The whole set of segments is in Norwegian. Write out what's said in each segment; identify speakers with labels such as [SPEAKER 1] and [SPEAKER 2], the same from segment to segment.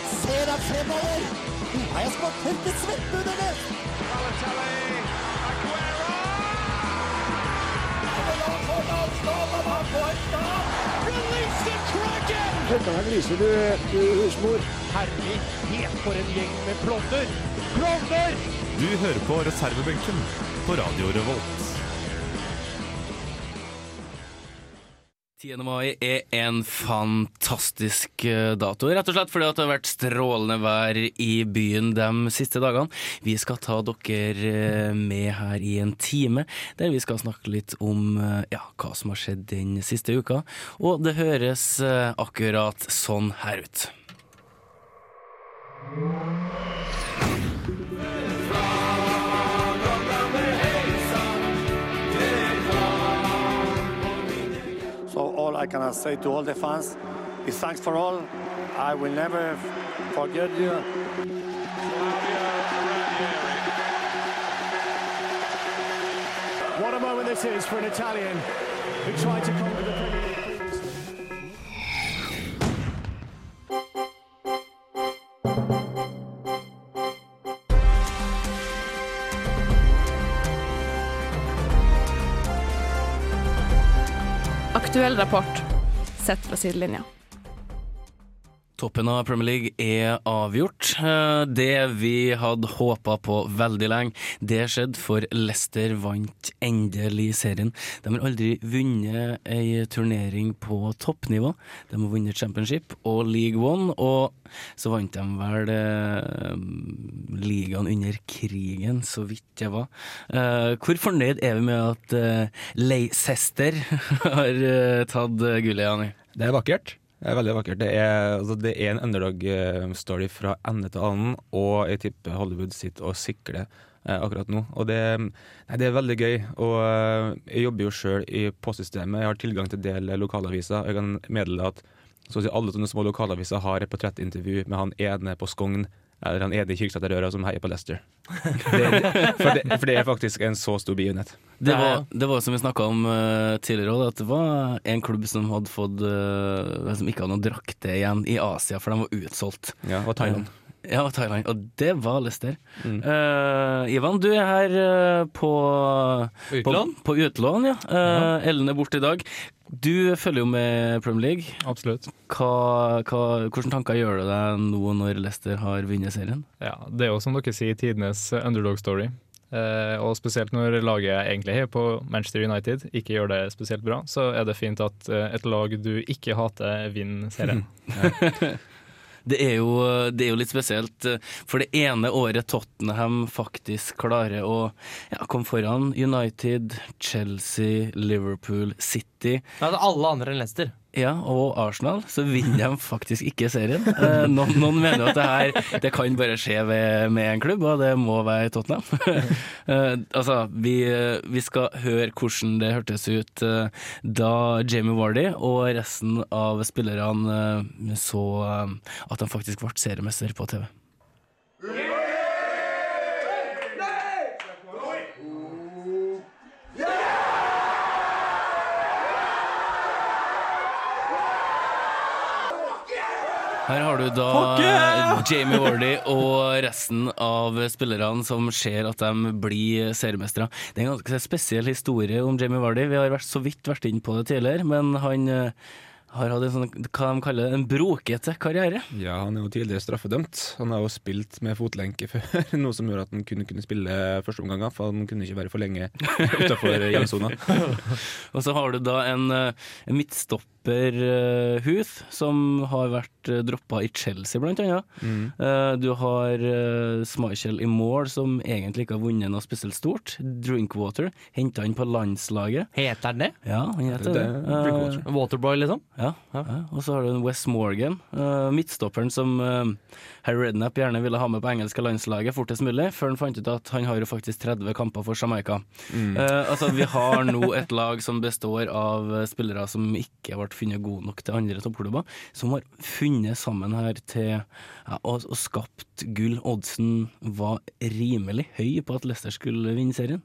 [SPEAKER 1] seg fremover. Har jeg spådd tente svetten under det?
[SPEAKER 2] Dette gliser du i husmor.
[SPEAKER 3] Herlighet, for en gjeng med klovner! Klovner!
[SPEAKER 4] Du hører på reservebenken på Radio Revolt.
[SPEAKER 5] 10. mai er en fantastisk eh, dato, rett og slett fordi at det har vært strålende vær i byen de siste dagene. Vi skal ta dere eh, med her i en time, der vi skal snakke litt om eh, ja, hva som har skjedd den siste uka. Og det høres eh, akkurat sånn her ut.
[SPEAKER 2] So all I can say to all the fans is thanks for all. I will never forget you.
[SPEAKER 3] What a moment this is for an Italian who tried to conquer the Premier League.
[SPEAKER 6] Aktuell rapport sett fra sidelinja.
[SPEAKER 5] Toppen av Premier League er avgjort. Eh, Det vi hadde håpa på veldig lenge, det skjedde, for Leicester vant endelig serien. De har aldri vunnet ei turnering på toppnivå. De har vunnet Championship og League One, og så vant de vel eh, ligaen under krigen, så vidt det var. Eh, hvor fornøyd er vi med at eh, Leicester har eh, tatt eh, gullet, Jani?
[SPEAKER 7] Det er vakkert. Det er veldig vakkert. Det er, altså, det er en underdog-story fra ende til annen, og jeg tipper Hollywood sitter og sikler eh, akkurat nå. Og det, nei, det er veldig gøy. Og eh, jeg jobber jo sjøl i postsystemet. Jeg har tilgang til en del lokalaviser. Jeg kan meddele at så å si alle sånne små lokalaviser har et portrettintervju med han ene på Skogn. Eller han ene i Kirksæterøra som heier på Leicester. Det, for, det, for det er faktisk en så stor begivenhet.
[SPEAKER 5] Det var, det var som vi snakka om eh, tidligere òg, at det var en klubb som hadde fått eh, Som ikke hadde noen drakter igjen i Asia, for de var utsolgt.
[SPEAKER 7] Ja, og Thailand.
[SPEAKER 5] Ja, og Thailand. Og det var Leicester. Eh, Ivan, du er her eh, på
[SPEAKER 8] Utlån?
[SPEAKER 5] På, på utlån, ja. Eh, Ellen er borte i dag. Du følger jo med Premier League.
[SPEAKER 8] Absolutt.
[SPEAKER 5] Hva, hva, hvilke tanker gjør du deg nå når Leicester har vunnet serien?
[SPEAKER 8] Ja, det er jo som dere sier, tidenes underdog-story. Eh, og spesielt når laget jeg egentlig heier på Manchester United, ikke gjør det spesielt bra, så er det fint at eh, et lag du ikke hater, vinner serien.
[SPEAKER 5] Det er, jo, det er jo litt spesielt, eh, for det ene året Tottenham faktisk klarer å ja, komme foran United, Chelsea, Liverpool, City
[SPEAKER 9] Nei, det er alle andre enn Leicester.
[SPEAKER 5] ja, og Arsenal, så vinner de faktisk ikke serien. Eh, Noen, noen mener at det her det kan bare skje ved, med en klubb, og det må være Tottenham. Eh, altså, vi, eh, vi skal høre hvordan det hørtes ut eh, da Jamie Wardy og resten av spillerne eh, så eh, at de faktisk ble seriemester på TV. Her har du da Jamie Wardy og resten av spillerne som ser at de blir seriemestere. Det er en ganske spesiell historie om Jamie Wardy. Vi har vært så vidt vært inn på det tidligere, men han eh, har hatt en sånn, hva de kaller det, en brokete karriere.
[SPEAKER 7] Ja, han er jo tidligere straffedømt. Han har jo spilt med fotlenke før, noe som gjorde at han kun kunne spille førsteomganger, for han kunne ikke være for lenge utafor hjemsona.
[SPEAKER 5] Og så har du da en, eh, en midtstopper eh, Huth, som har vært eh, droppa i Chelsea, blant annet.
[SPEAKER 9] Mm.
[SPEAKER 5] Eh, Du har eh, Schmeichel i mål, som egentlig ikke har vunnet noe spesielt stort. Drinkwater henta han på landslaget.
[SPEAKER 9] Heter han det?
[SPEAKER 5] Ja, han heter
[SPEAKER 7] Det-
[SPEAKER 5] det.
[SPEAKER 7] det-
[SPEAKER 5] Eh,
[SPEAKER 7] Drinkwater.
[SPEAKER 9] Waterboy, liksom?
[SPEAKER 5] ja, ja. Og så har du en Wes Morgan, eh, midtstopperen som eh, Harry Redknapp gjerne ville ha med på engelske landslaget fortest mulig, før han fant ut at han har jo faktisk 30 kamper for Jamaica. Eh, altså, vi har nå et lag som består av eh, spillere som ikke ble funnet gode nok til andre toppklubber, som har funnet sammen her til ja, og, og skapt gull. Oddsen var rimelig høy på at Leicester skulle vinne serien.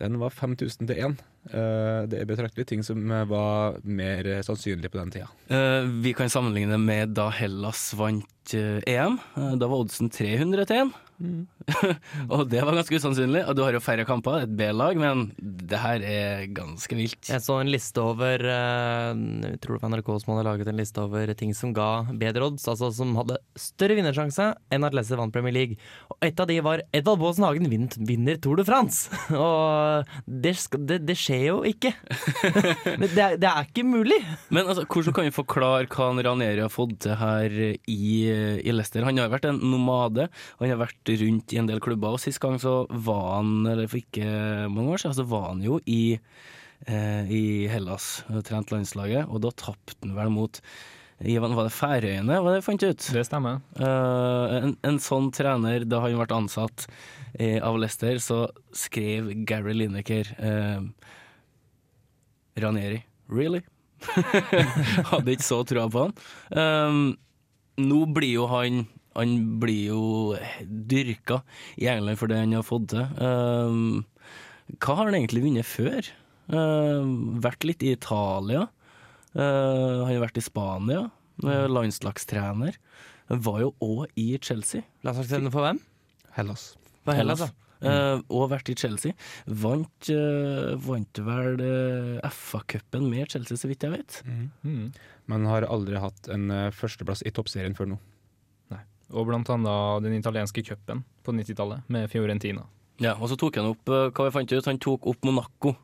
[SPEAKER 7] Den var 5000 til 1. Eh, det er betraktelig ting som eh, var mer eh, sannsynlig på den tida.
[SPEAKER 5] Eh, vi kan sammenligne det med da Hellas vant eh, EM. Eh, da var oddsen 300 til 1. og det var ganske usannsynlig. Og du har jo færre kamper, et B-lag, men det her er ganske vilt.
[SPEAKER 9] Jeg så en liste over eh, Jeg tror det var NRK som hadde laget en liste over ting som ga bedre odds, altså som hadde større vinnersjanse enn at Leicester vant Premier League. Og et av de var Edvald Baasen Hagen vin- vinner Tour de France! Og det, skal, det, det skjer jo ikke. Men det, er- det er ikke mulig!
[SPEAKER 5] Men altså, hvordan kan vi forklare hva han Ranieri har fått til her i, i Leicester? Han har vært en nomade, han har vært rundt i en del klubber, og sist gang så var han, eller for ikke mange år siden, så var han jo i, eh, i Hellas, og trent landslaget, og da tapte han vel mot Ivan, var det Færøyene, var det jeg fant ut?
[SPEAKER 8] Det stemmer.
[SPEAKER 5] Eh, en, en sånn trener, da han ble ansatt eh, av Leicester, så skrev Gary Lineker eh, Ranieri. Really? Hadde ikke så trua på han. Ehm, nå blir jo han Han blir jo dyrka i England for det han har fått til. Ehm, hva har han egentlig vunnet før? Ehm, vært litt i Italia. Eh, han har vært i Spania. eh, landslagstrener. Han var jo òg i Chelsea.
[SPEAKER 9] Landslagstrener for hvem?
[SPEAKER 7] Hellas.
[SPEAKER 9] For Hellas, ja.
[SPEAKER 5] Eh, og vært i Chelsea. Vant, eh, vant vel eh, FA-cupen med Chelsea, så vidt jeg vet.
[SPEAKER 8] Mm.
[SPEAKER 7] Men har aldri hatt en eh, førsteplass i toppserien før nå.
[SPEAKER 8] Og blant annet den italienske cupen på 90-tallet med Fiorentina.
[SPEAKER 5] Ja, Og så tok han opp eh, hva jeg fant ut, han tok opp Monaco.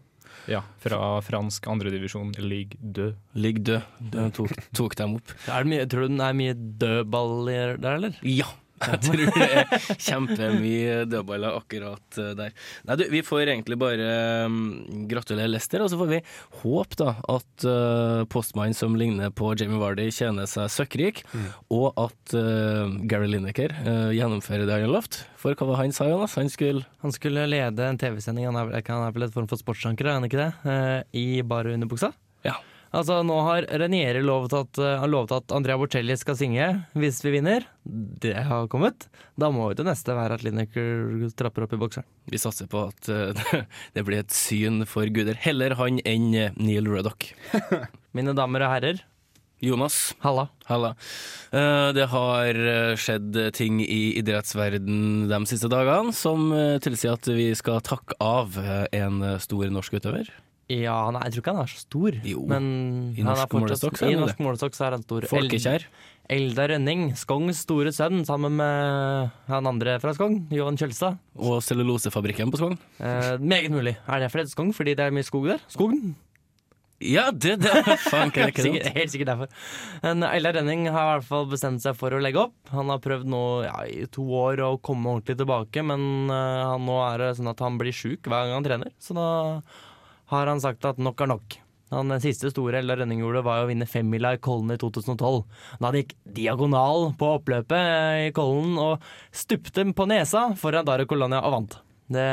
[SPEAKER 8] Ja, fra fransk andredivisjon league 2.
[SPEAKER 5] Ligg død. Den tok, tok dem opp.
[SPEAKER 9] Er det mye, tror du det er mye dødballer der, eller?
[SPEAKER 5] Ja! Jeg tror det er kjempemye dødballer akkurat eh, der. Nei, du, vi får egentlig bare mm, gratulere Lester, og så får vi håpe da at uh, postmannen som ligner på Jamie Vardy, tjener seg søkkrik, og at eh, Gary Lineker eh, gjennomfører det han har lovt. For hva var han sa, Jonas? Han skulle
[SPEAKER 9] Han skulle lede en TV-sending, han, er vel- han er vel et form for sportsanker, er han ikke det? Eh, I bare underbuksa.
[SPEAKER 5] Ja.
[SPEAKER 9] Altså, nå har Renieri lovet at, eh, han lovet at Andrea Bocelli skal synge hvis vi vinner. Det har kommet. Da må jo det neste være at Lineker trapper opp i bokseren.
[SPEAKER 5] Vi satser på at eh, det blir et syn for guder. Heller han enn eh, Neil Ruddock.
[SPEAKER 9] Mine damer og herrer,
[SPEAKER 5] Jonas,
[SPEAKER 9] halla.
[SPEAKER 5] halla. Eh, det har eh, skjedd ting i idrettsverden de siste dagene som eh, tilsier at vi skal takke av eh, en eh, stor norsk utøver.
[SPEAKER 9] Ja, nei, jeg tror ikke han er så stor,
[SPEAKER 5] Jo,
[SPEAKER 9] men
[SPEAKER 5] i
[SPEAKER 9] han
[SPEAKER 5] norsk
[SPEAKER 9] er fortsatt,
[SPEAKER 5] målestokk, så er han
[SPEAKER 9] i
[SPEAKER 5] det.
[SPEAKER 9] norsk målestokk så er han stor.
[SPEAKER 5] Folkekjær.
[SPEAKER 9] Elda Rønning, Skongs store sønn, sammen med han andre fra Skong, Johan Kjølstad.
[SPEAKER 5] Og cellulosefabrikken på Skogn.
[SPEAKER 9] Eh, meget mulig. Er det fordi det er skog? Fordi det er mye skog der? Skogen?
[SPEAKER 5] Ja, det, det faen, ikke det, ikke
[SPEAKER 9] Sikkert,
[SPEAKER 5] sant?
[SPEAKER 9] helt sikkert derfor. Men Eldar Rønning har i hvert fall bestemt seg for å legge opp. Han har prøvd nå ja, i to år å komme ordentlig tilbake, men eh, han, nå er det sånn at han blir sjuk hver gang han trener. Så da har han sagt at nok er nok. Han den siste store Eldar Rønning gjorde, var jo å vinne femmila i Kollen i 2012. Da gikk diagonal på oppløpet eh, i Kollen og stupte på nesa foran Dario Colonia og vant. Det,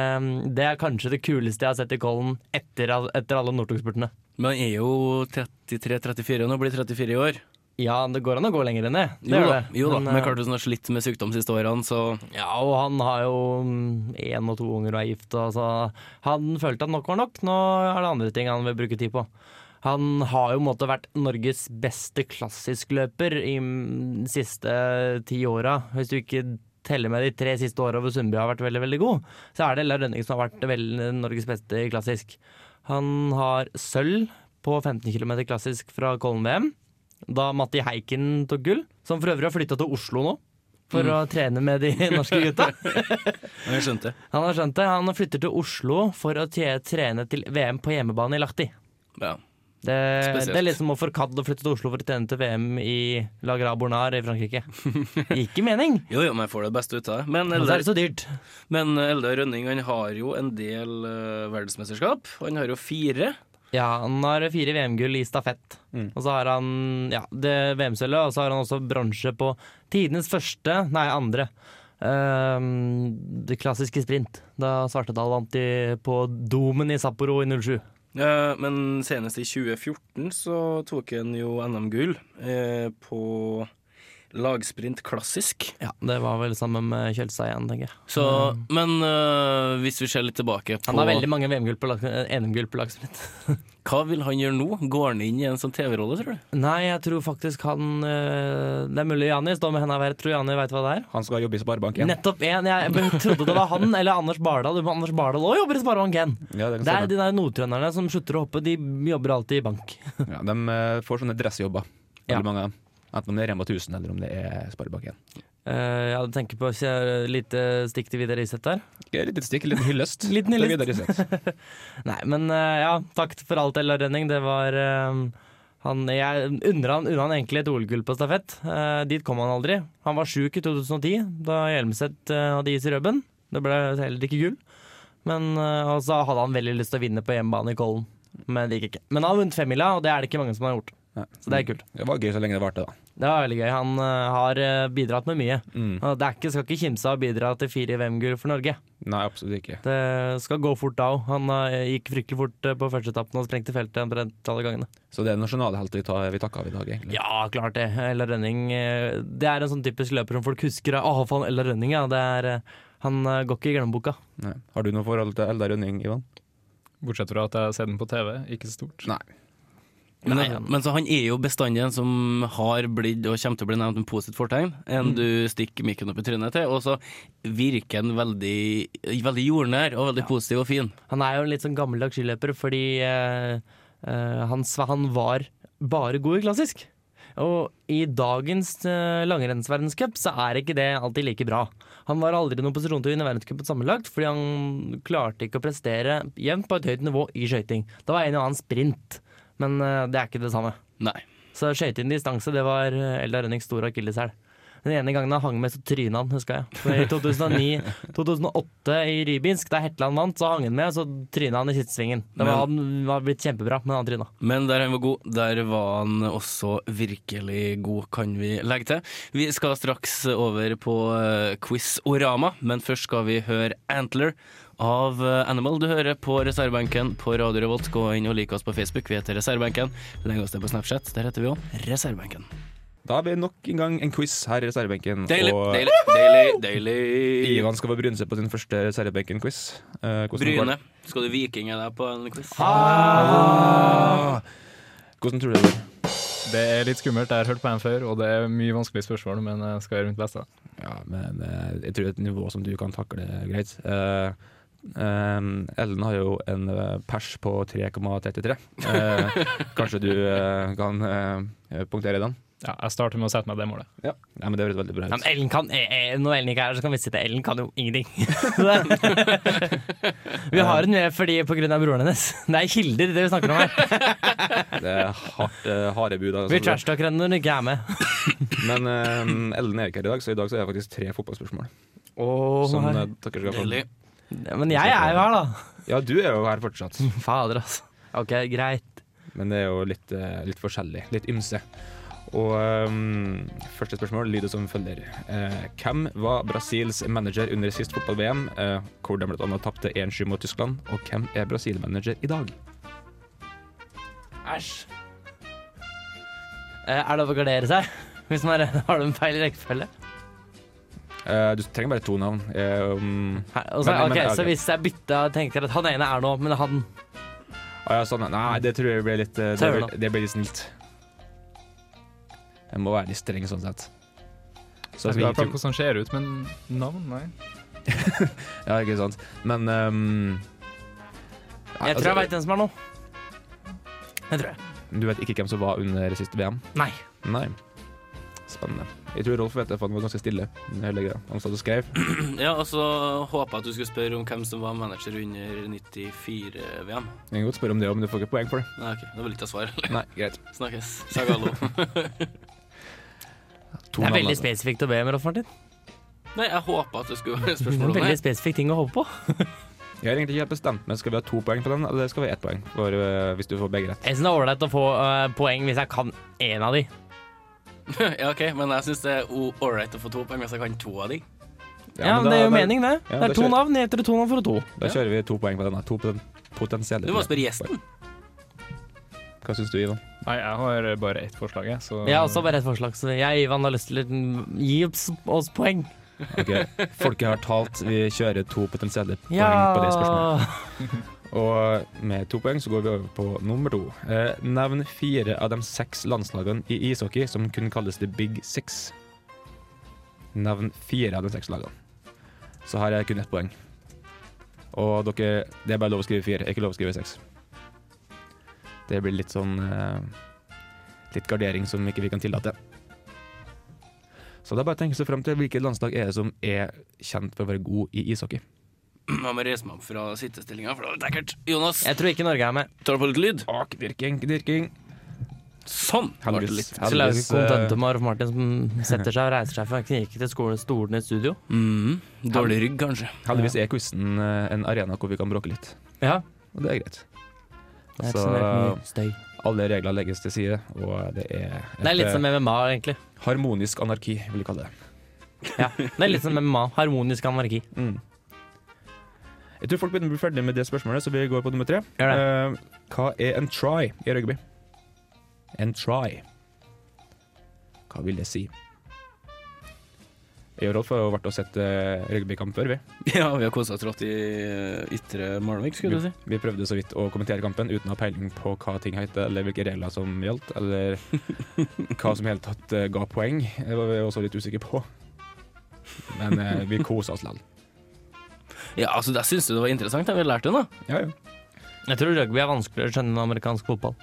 [SPEAKER 9] det er kanskje det kuleste jeg har sett i Kollen etter, etter alle Northug-spurtene.
[SPEAKER 5] Men han er jo 33-34 nå, blir 34 i år.
[SPEAKER 9] Ja, det går an å gå lenger enn det. det,
[SPEAKER 5] Jo
[SPEAKER 9] gjør
[SPEAKER 5] da,
[SPEAKER 9] det.
[SPEAKER 5] jo da.
[SPEAKER 9] Men,
[SPEAKER 5] men
[SPEAKER 9] eh,
[SPEAKER 5] klart du har slitt med sykdom de siste årene, så
[SPEAKER 9] Ja, og han har jo mm, én og to unger og er gift, og så han følte at nok var nok. Nå er det andre ting han vil bruke tid på. Han har jo på en måte vært Norges beste klassiskløper i mm, de siste ti åra. Hvis du ikke teller med de tre siste åra hvor Sundby har vært veldig veldig god, så er det Ella Rønning som har vært vel- mm, Norges beste i klassisk. Han har sølv på 15 km klassisk fra Kollen-VM, da Matti Heiken tok gull. Som for øvrig har flytta til Oslo nå for å trene med de norske gutta.
[SPEAKER 5] Jeg skjønte.
[SPEAKER 9] Han har skjønt det. Han flytter til Oslo for å te- trene til VM på hjemmebane i Lahti.
[SPEAKER 5] Ja.
[SPEAKER 9] Det,
[SPEAKER 5] Spesielt.
[SPEAKER 9] det er litt som å forkadle å flytte til Oslo for å trene til VM i La Gras Bornard i Frankrike. Ikke mening!
[SPEAKER 5] Jo, jo, men jeg får det beste ut av det. Men
[SPEAKER 9] Men så
[SPEAKER 5] Eldar-
[SPEAKER 9] er det så dyrt.
[SPEAKER 5] Men Eldar Rønning han har jo en del eh, verdensmesterskap. Han har jo fire.
[SPEAKER 9] Ja, han har fire VM-gull i stafett. Og så har han ja, det VM-sølvet, og så har han også bronse på tidenes første, nei, andre. Ehm, det klassiske sprint, da Svartedal vant i, på Domen i Sapporo i 07.
[SPEAKER 5] Eh, men senest i 2014 så tok han jo NM-gull eh, på Lagsprint klassisk.
[SPEAKER 9] Ja, det var vel sammen med Kjølstad igjen, tenker jeg.
[SPEAKER 5] Så, men øh, hvis vi ser litt tilbake på
[SPEAKER 9] Han har veldig mange VM-gull på, lag- eh, NM-gull på lagsprint.
[SPEAKER 5] Hva vil han gjøre nå? Går han inn i en sånn TV-rolle, tror du?
[SPEAKER 9] Nei, jeg tror faktisk han eh, Det er mulig Jani står med henda i været. Tror Jani veit hva det er.
[SPEAKER 7] Han skal jobbe i Sparebank 1.
[SPEAKER 9] Nettopp én. Jeg trodde det var han eller Anders Bardal. Du, Anders Bardal òg jobber i Sparebank 1.
[SPEAKER 7] Ja, det kan
[SPEAKER 9] Det er
[SPEAKER 7] stemme.
[SPEAKER 9] de der nordtrønderne som slutter å hoppe. De jobber alltid i bank.
[SPEAKER 7] Ja, de eh, får sånne dressjobber,
[SPEAKER 9] Ja.
[SPEAKER 7] veldig mange av dem. Enten om det er Rema 1000 eller om det er Sparebank 1.
[SPEAKER 9] Eh, jeg tenker på et lite stikk til Vidar Iseth der.
[SPEAKER 7] Et lite stikk, en liten hyllest.
[SPEAKER 9] Liten
[SPEAKER 7] til
[SPEAKER 9] hyllest.
[SPEAKER 7] Vidar Iseth.
[SPEAKER 9] Nei, men eh, ja, takk for alt, Ella Rønning. Det var eh, han, Jeg unner han, unner han egentlig et OL-gull på stafett. Eh, dit kom han aldri. Han var sjuk i 2010, da Hjelmseth eh, hadde is i rødben. Det ble heller ikke gull. Men eh, og så hadde han veldig lyst til å vinne på hjemmebane i Kollen, men det gikk ikke. Men han har vunnet femmila, og det er det ikke mange som har gjort.
[SPEAKER 7] Nei.
[SPEAKER 9] Så det er kult.
[SPEAKER 7] Det var gøy så lenge det varte, da.
[SPEAKER 9] Det var veldig gøy. Han eh, har eh, bidratt med mye.
[SPEAKER 7] Mm.
[SPEAKER 9] Og Det er ikke, skal ikke kimse av å bidra til fire VM-gull for Norge.
[SPEAKER 7] Nei, absolutt ikke.
[SPEAKER 9] Det eh, skal gå fort da òg. Han eh, gikk fryktelig fort eh, på førsteetappen og sprengte feltet omtrent alle gangene.
[SPEAKER 7] Så det er nasjonalhelter vi, tar- vi takker av i dag, egentlig.
[SPEAKER 9] Ja, klart det. Ella Rønning eh, Det er en sånn typisk løper som folk husker. Å, faen, Ella Rønning, ja. Det er, eh, han eh, går ikke i glemmeboka.
[SPEAKER 7] Nei. Har du noe forhold til Eldar Rønning, Ivan?
[SPEAKER 8] Bortsett fra at jeg har sett den på TV, ikke så stort.
[SPEAKER 7] Nei.
[SPEAKER 5] Men,
[SPEAKER 9] Nei, han-
[SPEAKER 5] men så han er jo bestandig en som har blitt og kommer til å bli nevnt med positivt fortegn.
[SPEAKER 9] Mm.
[SPEAKER 5] En du stikker mikken opp i trynet til, og så virker han veldig, veldig jordnær og veldig positiv og fin.
[SPEAKER 9] Han er jo en litt sånn gammeldags skiløper fordi eh, eh, han, sva- han var bare god i klassisk. Og i dagens eh, langrennsverdenscup så er ikke det alltid like bra. Han var aldri i noen posisjon til å vinne verdenscupen sammenlagt, fordi han klarte ikke å prestere jevnt på et høyt nivå i skøyting. Det var en og annen sprint, men eh, det er ikke det samme.
[SPEAKER 5] Nei.
[SPEAKER 9] Så skøyting distanse, det var eh, Eldar Rønnings store akilleshæl. Den ene gangen han hang med, så tryna han, huska jeg. For I 2009-2008 i Rybinsk, da Hetland vant, så hang han med, så tryna han i siste svingen. Det var, han var blitt kjempebra, men han tryna.
[SPEAKER 5] Men der han var god, der var han også virkelig god, kan vi legge til. Vi skal straks over på eh, quiz-orama, men først skal vi høre Antler av eh, Animal. Du hører på reservebenken på Radio Revolt. Gå inn og like oss på Facebook, vi heter Reservebenken. Legg oss til på Snapchat, der heter vi òg Reservebenken.
[SPEAKER 7] Da har vi nok en gang en quiz her i reservebenken.
[SPEAKER 5] Deilig,
[SPEAKER 7] og
[SPEAKER 5] deilig, deilig, deilig.
[SPEAKER 7] Ivan skal få bryne seg på sin første reservebenken-quiz. Eh, hvordan går
[SPEAKER 5] Bryne,
[SPEAKER 7] det?
[SPEAKER 5] skal du vikinge deg på en quiz?
[SPEAKER 7] Hvordan tror du det går?
[SPEAKER 8] Det er litt skummelt, jeg har hørt på den før, og det er mye vanskelige spørsmål, men eh, jeg skal gjøre mitt beste.
[SPEAKER 7] Ja, men eh, jeg tror det er et nivå som du kan takle greit. Eh, eh, Ellen har jo en eh, pers på 3,33. Eh, kanskje du eh, kan eh, punktere den?
[SPEAKER 8] Ja, jeg starter med å sette meg det målet.
[SPEAKER 7] Ja. Nei, men det høres veldig bra
[SPEAKER 9] Ja,
[SPEAKER 7] ut.
[SPEAKER 9] men Ellen kan, eh, eh, når Ellen ikke er her, så kan vi si at Ellen kan jo ingenting. Så det- vi har henne med fordi på grunn av broren hennes. Det er kilder, det vi snakker om her.
[SPEAKER 7] Det er hardt, eh, harde bud. altså.
[SPEAKER 9] Vi trashtalker henne når hun ikke er med.
[SPEAKER 7] Men eh, Ellen er ikke her i dag, så i dag så er det faktisk tre fotballspørsmål. som eh, dere skal få.
[SPEAKER 5] Deilig.
[SPEAKER 9] Men jeg er jo her, da.
[SPEAKER 7] Ja, du er jo her fortsatt.
[SPEAKER 9] Fader, altså. Ok, greit.
[SPEAKER 7] Men det er jo litt, eh, litt forskjellig. Litt ymse. Og eh, første spørsmål lyder som følger. Eh, hvem var Brasils manager under sist fotball-VM, eh, hvor de blant annet tapte 1-7 mot Tyskland, og hvem er Brasil-manager i dag?
[SPEAKER 9] Æsj. Eh, Er det lov å gardere seg? Hvis man er, har du en feil rekkefølge?
[SPEAKER 7] Eh, du trenger bare to navn. Eh, um,
[SPEAKER 9] Her, og så-
[SPEAKER 7] Men- men-
[SPEAKER 9] ok,
[SPEAKER 7] ok.
[SPEAKER 9] Så hvis jeg bytta og tenkte at han ene er noe, men han
[SPEAKER 7] ah, ja, sånn. Nei, det tror jeg blir litt eh, det,
[SPEAKER 9] Tøv, da.
[SPEAKER 7] blir- det blir litt snilt. Jeg må være litt streng sånn sett. Så
[SPEAKER 8] Jeg
[SPEAKER 7] at
[SPEAKER 8] skal
[SPEAKER 7] vi
[SPEAKER 8] i hvert fall
[SPEAKER 7] ikke
[SPEAKER 8] hvordan han ser ut, men navn, nei.
[SPEAKER 7] Ja, ikke sant. Men ehm, nei,
[SPEAKER 9] Jeg tror jeg
[SPEAKER 7] altså,
[SPEAKER 9] veit hvem som er noe. Jeg tror jeg.
[SPEAKER 7] Du vet ikke hvem som var under siste VM?
[SPEAKER 9] Nei.
[SPEAKER 7] Nei. Spennende. Jeg tror Rolf vet det, for han var ganske stille. Hele greia. Han satt og skrev.
[SPEAKER 5] Ja, og så håpet jeg at du skulle spørre om hvem som var manager under 94-VM.
[SPEAKER 7] Jeg kan godt spørre om det òg, men du får ikke poeng for det.
[SPEAKER 5] Nei, ok, da vil ikke jeg svare.
[SPEAKER 7] Nei, greit.
[SPEAKER 5] Snakkes. Sagalo.
[SPEAKER 7] To
[SPEAKER 9] Det er
[SPEAKER 7] navn,
[SPEAKER 9] veldig
[SPEAKER 7] altså.
[SPEAKER 9] spesifikt å be om, Rolf Martin.
[SPEAKER 5] Nei, jeg håpet at det skulle være
[SPEAKER 9] Det er en
[SPEAKER 5] spørsmål om
[SPEAKER 9] veldig
[SPEAKER 5] det.
[SPEAKER 9] spesifikk ting å håpe
[SPEAKER 7] Jeg
[SPEAKER 9] på.
[SPEAKER 7] har egentlig ikke helt bestemt meg. Skal vi ha to poeng på den, eller skal vi ha ett poeng? For øh, hvis du får begge rett.
[SPEAKER 9] Jeg syns det er ålreit å få eh, poeng hvis jeg kan én av de.
[SPEAKER 5] Ja, ok, men jeg synes det er ålreit å få to poeng hvis jeg kan to av de.
[SPEAKER 9] Ja, men Det
[SPEAKER 7] da-
[SPEAKER 9] gir jo
[SPEAKER 7] da-
[SPEAKER 9] mening, det.
[SPEAKER 7] Ja,
[SPEAKER 9] Det er
[SPEAKER 7] da
[SPEAKER 9] to
[SPEAKER 7] kjører-
[SPEAKER 9] navn. Gjeter du to navn, får du to.
[SPEAKER 7] Da kjører vi to poeng på denne. To poten- potensielle
[SPEAKER 5] Du må
[SPEAKER 7] poeng.
[SPEAKER 5] spørre gjesten.
[SPEAKER 7] Hva syns du, Ivan?
[SPEAKER 8] Nei, jeg har bare ett forslag, jeg. Så
[SPEAKER 9] Jeg har også bare ett forslag. Så jeg Ivan har lyst til å gi oss, oss poeng.
[SPEAKER 7] Ok, Folket har talt, vi kjører to potensielle poeng på det spørsmålet.
[SPEAKER 9] Ja
[SPEAKER 7] Og med to poeng så går vi over på nummer to. Eh, nevn fire av de seks landslagene i ishockey som kun kalles The Big Six. Nevn fire av de seks lagene. Så har jeg kun ett poeng. Og dere, det er bare lov å skrive fire, ikke lov å skrive seks. Det blir litt sånn eh, Litt gardering som ikke vi kan tillate. Så det er bare å tenke seg frem til hvilket landslag er det som er kjent for å være god i ishockey.
[SPEAKER 5] Jeg må reise meg opp fra sittestillinga, for det var lekkert. Jonas,
[SPEAKER 9] Jeg tror ikke Norge er med.
[SPEAKER 5] tar du på litt lyd?
[SPEAKER 7] Ak, dirking, dirking.
[SPEAKER 5] Sånn! Var det litt.
[SPEAKER 9] Så lager kontentum av Rolf Martin som setter seg og reiser seg fra knirkete skolen stolene i studio.
[SPEAKER 5] Mm, dårlig rygg, kanskje.
[SPEAKER 7] Heldigvis er quizen eh, en arena hvor vi kan bråke litt,
[SPEAKER 9] Ja.
[SPEAKER 7] og det er greit.
[SPEAKER 9] Det er
[SPEAKER 7] Så
[SPEAKER 9] ikke så eh, mye støy.
[SPEAKER 7] alle regler legges til side, og det er et
[SPEAKER 9] Det er litt som
[SPEAKER 7] eh,
[SPEAKER 9] MMA, egentlig.
[SPEAKER 7] harmonisk anarki, vil jeg kalle det.
[SPEAKER 9] Ja, det er litt som MMA. Harmonisk anarki.
[SPEAKER 7] Mm. Jeg tror folk begynner å bli ferdig med det spørsmålet, så vi går på nummer tre.
[SPEAKER 9] Gjør
[SPEAKER 7] Eh, hva er en try i rugby? En try. Hva vil det si? Jeg og Rolf har jo vært og sett eh, rugbykamp før, vi.
[SPEAKER 5] Ja, vi har kosa oss rått i eh, ytre Malvik, skulle du si.
[SPEAKER 7] Vi provde så vidt å kommentere kampen uten å ha peiling på hva ting het, eller hvilke regler som gjaldt, eller hva som i hele tatt eh, ga poeng. Det var vi også litt usikre på. Men eh, vi kosa oss likevel.
[SPEAKER 5] Ja, altså, jeg syns du det var interessant. Jeg har lært det, da.
[SPEAKER 7] Ja, ja.
[SPEAKER 9] Jeg tror rugby er vanskeligere å skjønne enn amerikansk fotball.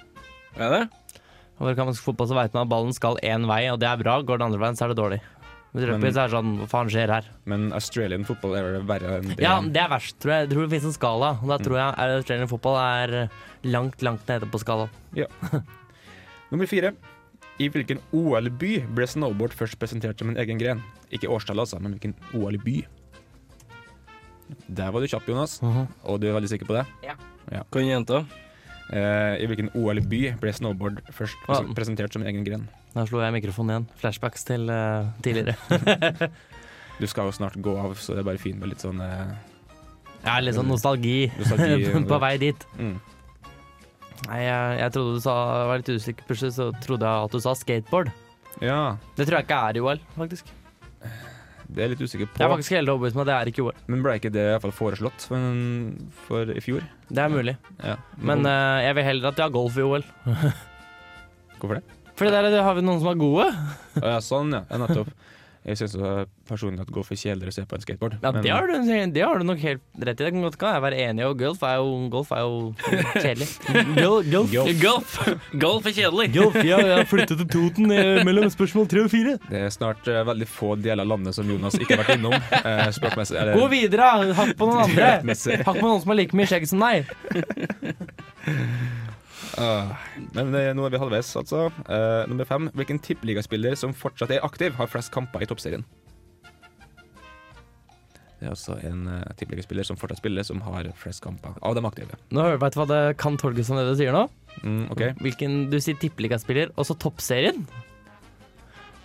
[SPEAKER 5] Er det?
[SPEAKER 9] Amerikansk fotball så vet man at ballen skal én vei, og det er bra. Går den andre veien, så er det dårlig. Med rugby
[SPEAKER 7] Men-
[SPEAKER 9] så er det sånn Hva faen skjer her?
[SPEAKER 7] Men Australian football er vel verre enn det.
[SPEAKER 9] Ja, Mm. det er verst, tror jeg. Jeg tror det finnes en skala. Og da tror jeg er Australian fotball er eh, langt, langt nede på skalaen.
[SPEAKER 7] Nummer fire. I hvilken OL-by ble snowboard først presentert som en egen gren? Ikke årstallet, altså, men hvilken OL-by? Der var du kjapp, Jonas,
[SPEAKER 9] Mhm.
[SPEAKER 7] og du er veldig sikker på det.
[SPEAKER 5] Kan jenta?
[SPEAKER 7] Eh, I hvilken OL-by ble snowboard først
[SPEAKER 9] Ja.
[SPEAKER 7] presen- presentert som en egen gren?
[SPEAKER 9] Da slo jeg mikrofonen igjen. Flashbacks til eh, tidligere.
[SPEAKER 7] Du skal jo snart gå av, så det er bare fint med litt sånn eh,
[SPEAKER 9] Jeg er litt sånn nostalgi
[SPEAKER 7] nostalgi.
[SPEAKER 9] på vei dit.
[SPEAKER 7] Mm.
[SPEAKER 9] Nei, jeg, jeg trodde du sa jeg var litt usikker, plutselig så trodde jeg at du sa skateboard.
[SPEAKER 7] Ja,
[SPEAKER 9] Det tror jeg ikke er i OL, faktisk.
[SPEAKER 7] det er jeg litt usikker
[SPEAKER 9] Jeg er
[SPEAKER 7] på.
[SPEAKER 9] faktisk helt overbevist om at det er ikke i OL.
[SPEAKER 7] Men ble ikke det i hvert fall foreslått for, for i fjor?
[SPEAKER 9] Det er mulig.
[SPEAKER 7] Ja.
[SPEAKER 9] Men eh, jeg vil heller at de har golf i OL.
[SPEAKER 7] Hvorfor det?
[SPEAKER 9] For det der har vi noen som er gode.
[SPEAKER 7] Å ja, sånn, ja. ja. Nettopp. Jeg syns personlig at golf er kjedeligere å se på enn skateboard.
[SPEAKER 9] Ja,
[SPEAKER 7] men-
[SPEAKER 9] det har, du, det har du nok helt rett i. Det kan godt kan jeg være enig i, og golf er jo, golf er jo kjedelig. Golf, golf.
[SPEAKER 5] Golf! Golf er kjedelig.
[SPEAKER 9] ja, jeg har flyttet til Toten eh, mellom spørsmål tre og fire.
[SPEAKER 7] Det er snart eh, veldig få deler av landet som Jonas ikke har vært innom. eh, Språkmessig. eller-
[SPEAKER 9] Gå videre, da. hakk på noen andre.
[SPEAKER 7] Messig.
[SPEAKER 9] Hakk på noen som har like mye skjegg som deg.
[SPEAKER 7] Ah, men eh, nå er vi halvveis, altså. Eh, nummer fem. Hvilken tippeligaspiller som fortsatt er aktiv, har flest kamper i toppserien? Det er altså en uh, tippeligaspiller som fortsatt spiller, som har flest kamper av de aktive.
[SPEAKER 9] Nå hører Vet du hva det kan tolkes som det du sier nå?
[SPEAKER 7] Mm, ok.
[SPEAKER 9] Hvilken du sier tippeligaspiller, og så toppserien?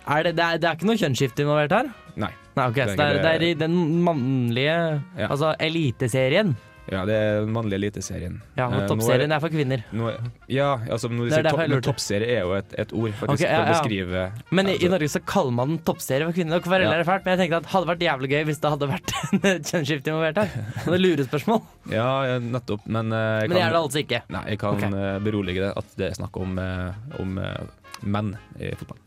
[SPEAKER 9] Er det, det, er, det er ikke noe kjønnsskifte involvert her?
[SPEAKER 7] Nei.
[SPEAKER 9] Nei, ok,
[SPEAKER 7] Det er
[SPEAKER 9] så det er,
[SPEAKER 7] ikke
[SPEAKER 9] det
[SPEAKER 7] det.
[SPEAKER 9] er i den mannlige
[SPEAKER 7] Ja.
[SPEAKER 9] Altså eliteserien.
[SPEAKER 7] Ja, det er den mannlige eliteserien.
[SPEAKER 9] Ja,
[SPEAKER 7] Eh,
[SPEAKER 9] og
[SPEAKER 7] nå er-
[SPEAKER 9] toppserien er for kvinner.
[SPEAKER 7] Nå, er- ja, altså når du
[SPEAKER 9] Det er
[SPEAKER 7] sier
[SPEAKER 9] derfor
[SPEAKER 7] topp,
[SPEAKER 9] jeg
[SPEAKER 7] men
[SPEAKER 9] lurte.
[SPEAKER 7] toppserie er jo et, et ord faktisk,
[SPEAKER 9] Ok, ja,
[SPEAKER 7] for å
[SPEAKER 9] ja.
[SPEAKER 7] beskrive
[SPEAKER 9] Men i,
[SPEAKER 7] altså,
[SPEAKER 9] i Norge så kaller man den toppserie for kvinner. Og hvorfor
[SPEAKER 7] Ja.
[SPEAKER 9] er det fælt? Men jeg tenkte at det hadde vært jævlig gøy hvis det hadde vært en kjønnsskifte involvert her. Og det er lurespørsmål.
[SPEAKER 7] Ja, ja, nettopp, men eh, jeg
[SPEAKER 9] Men det
[SPEAKER 7] kan-
[SPEAKER 9] er det altså ikke.
[SPEAKER 7] Nei, jeg kan
[SPEAKER 9] Ok.
[SPEAKER 7] eh, berolige deg at det er snakk om, eh, om eh, menn i fotball.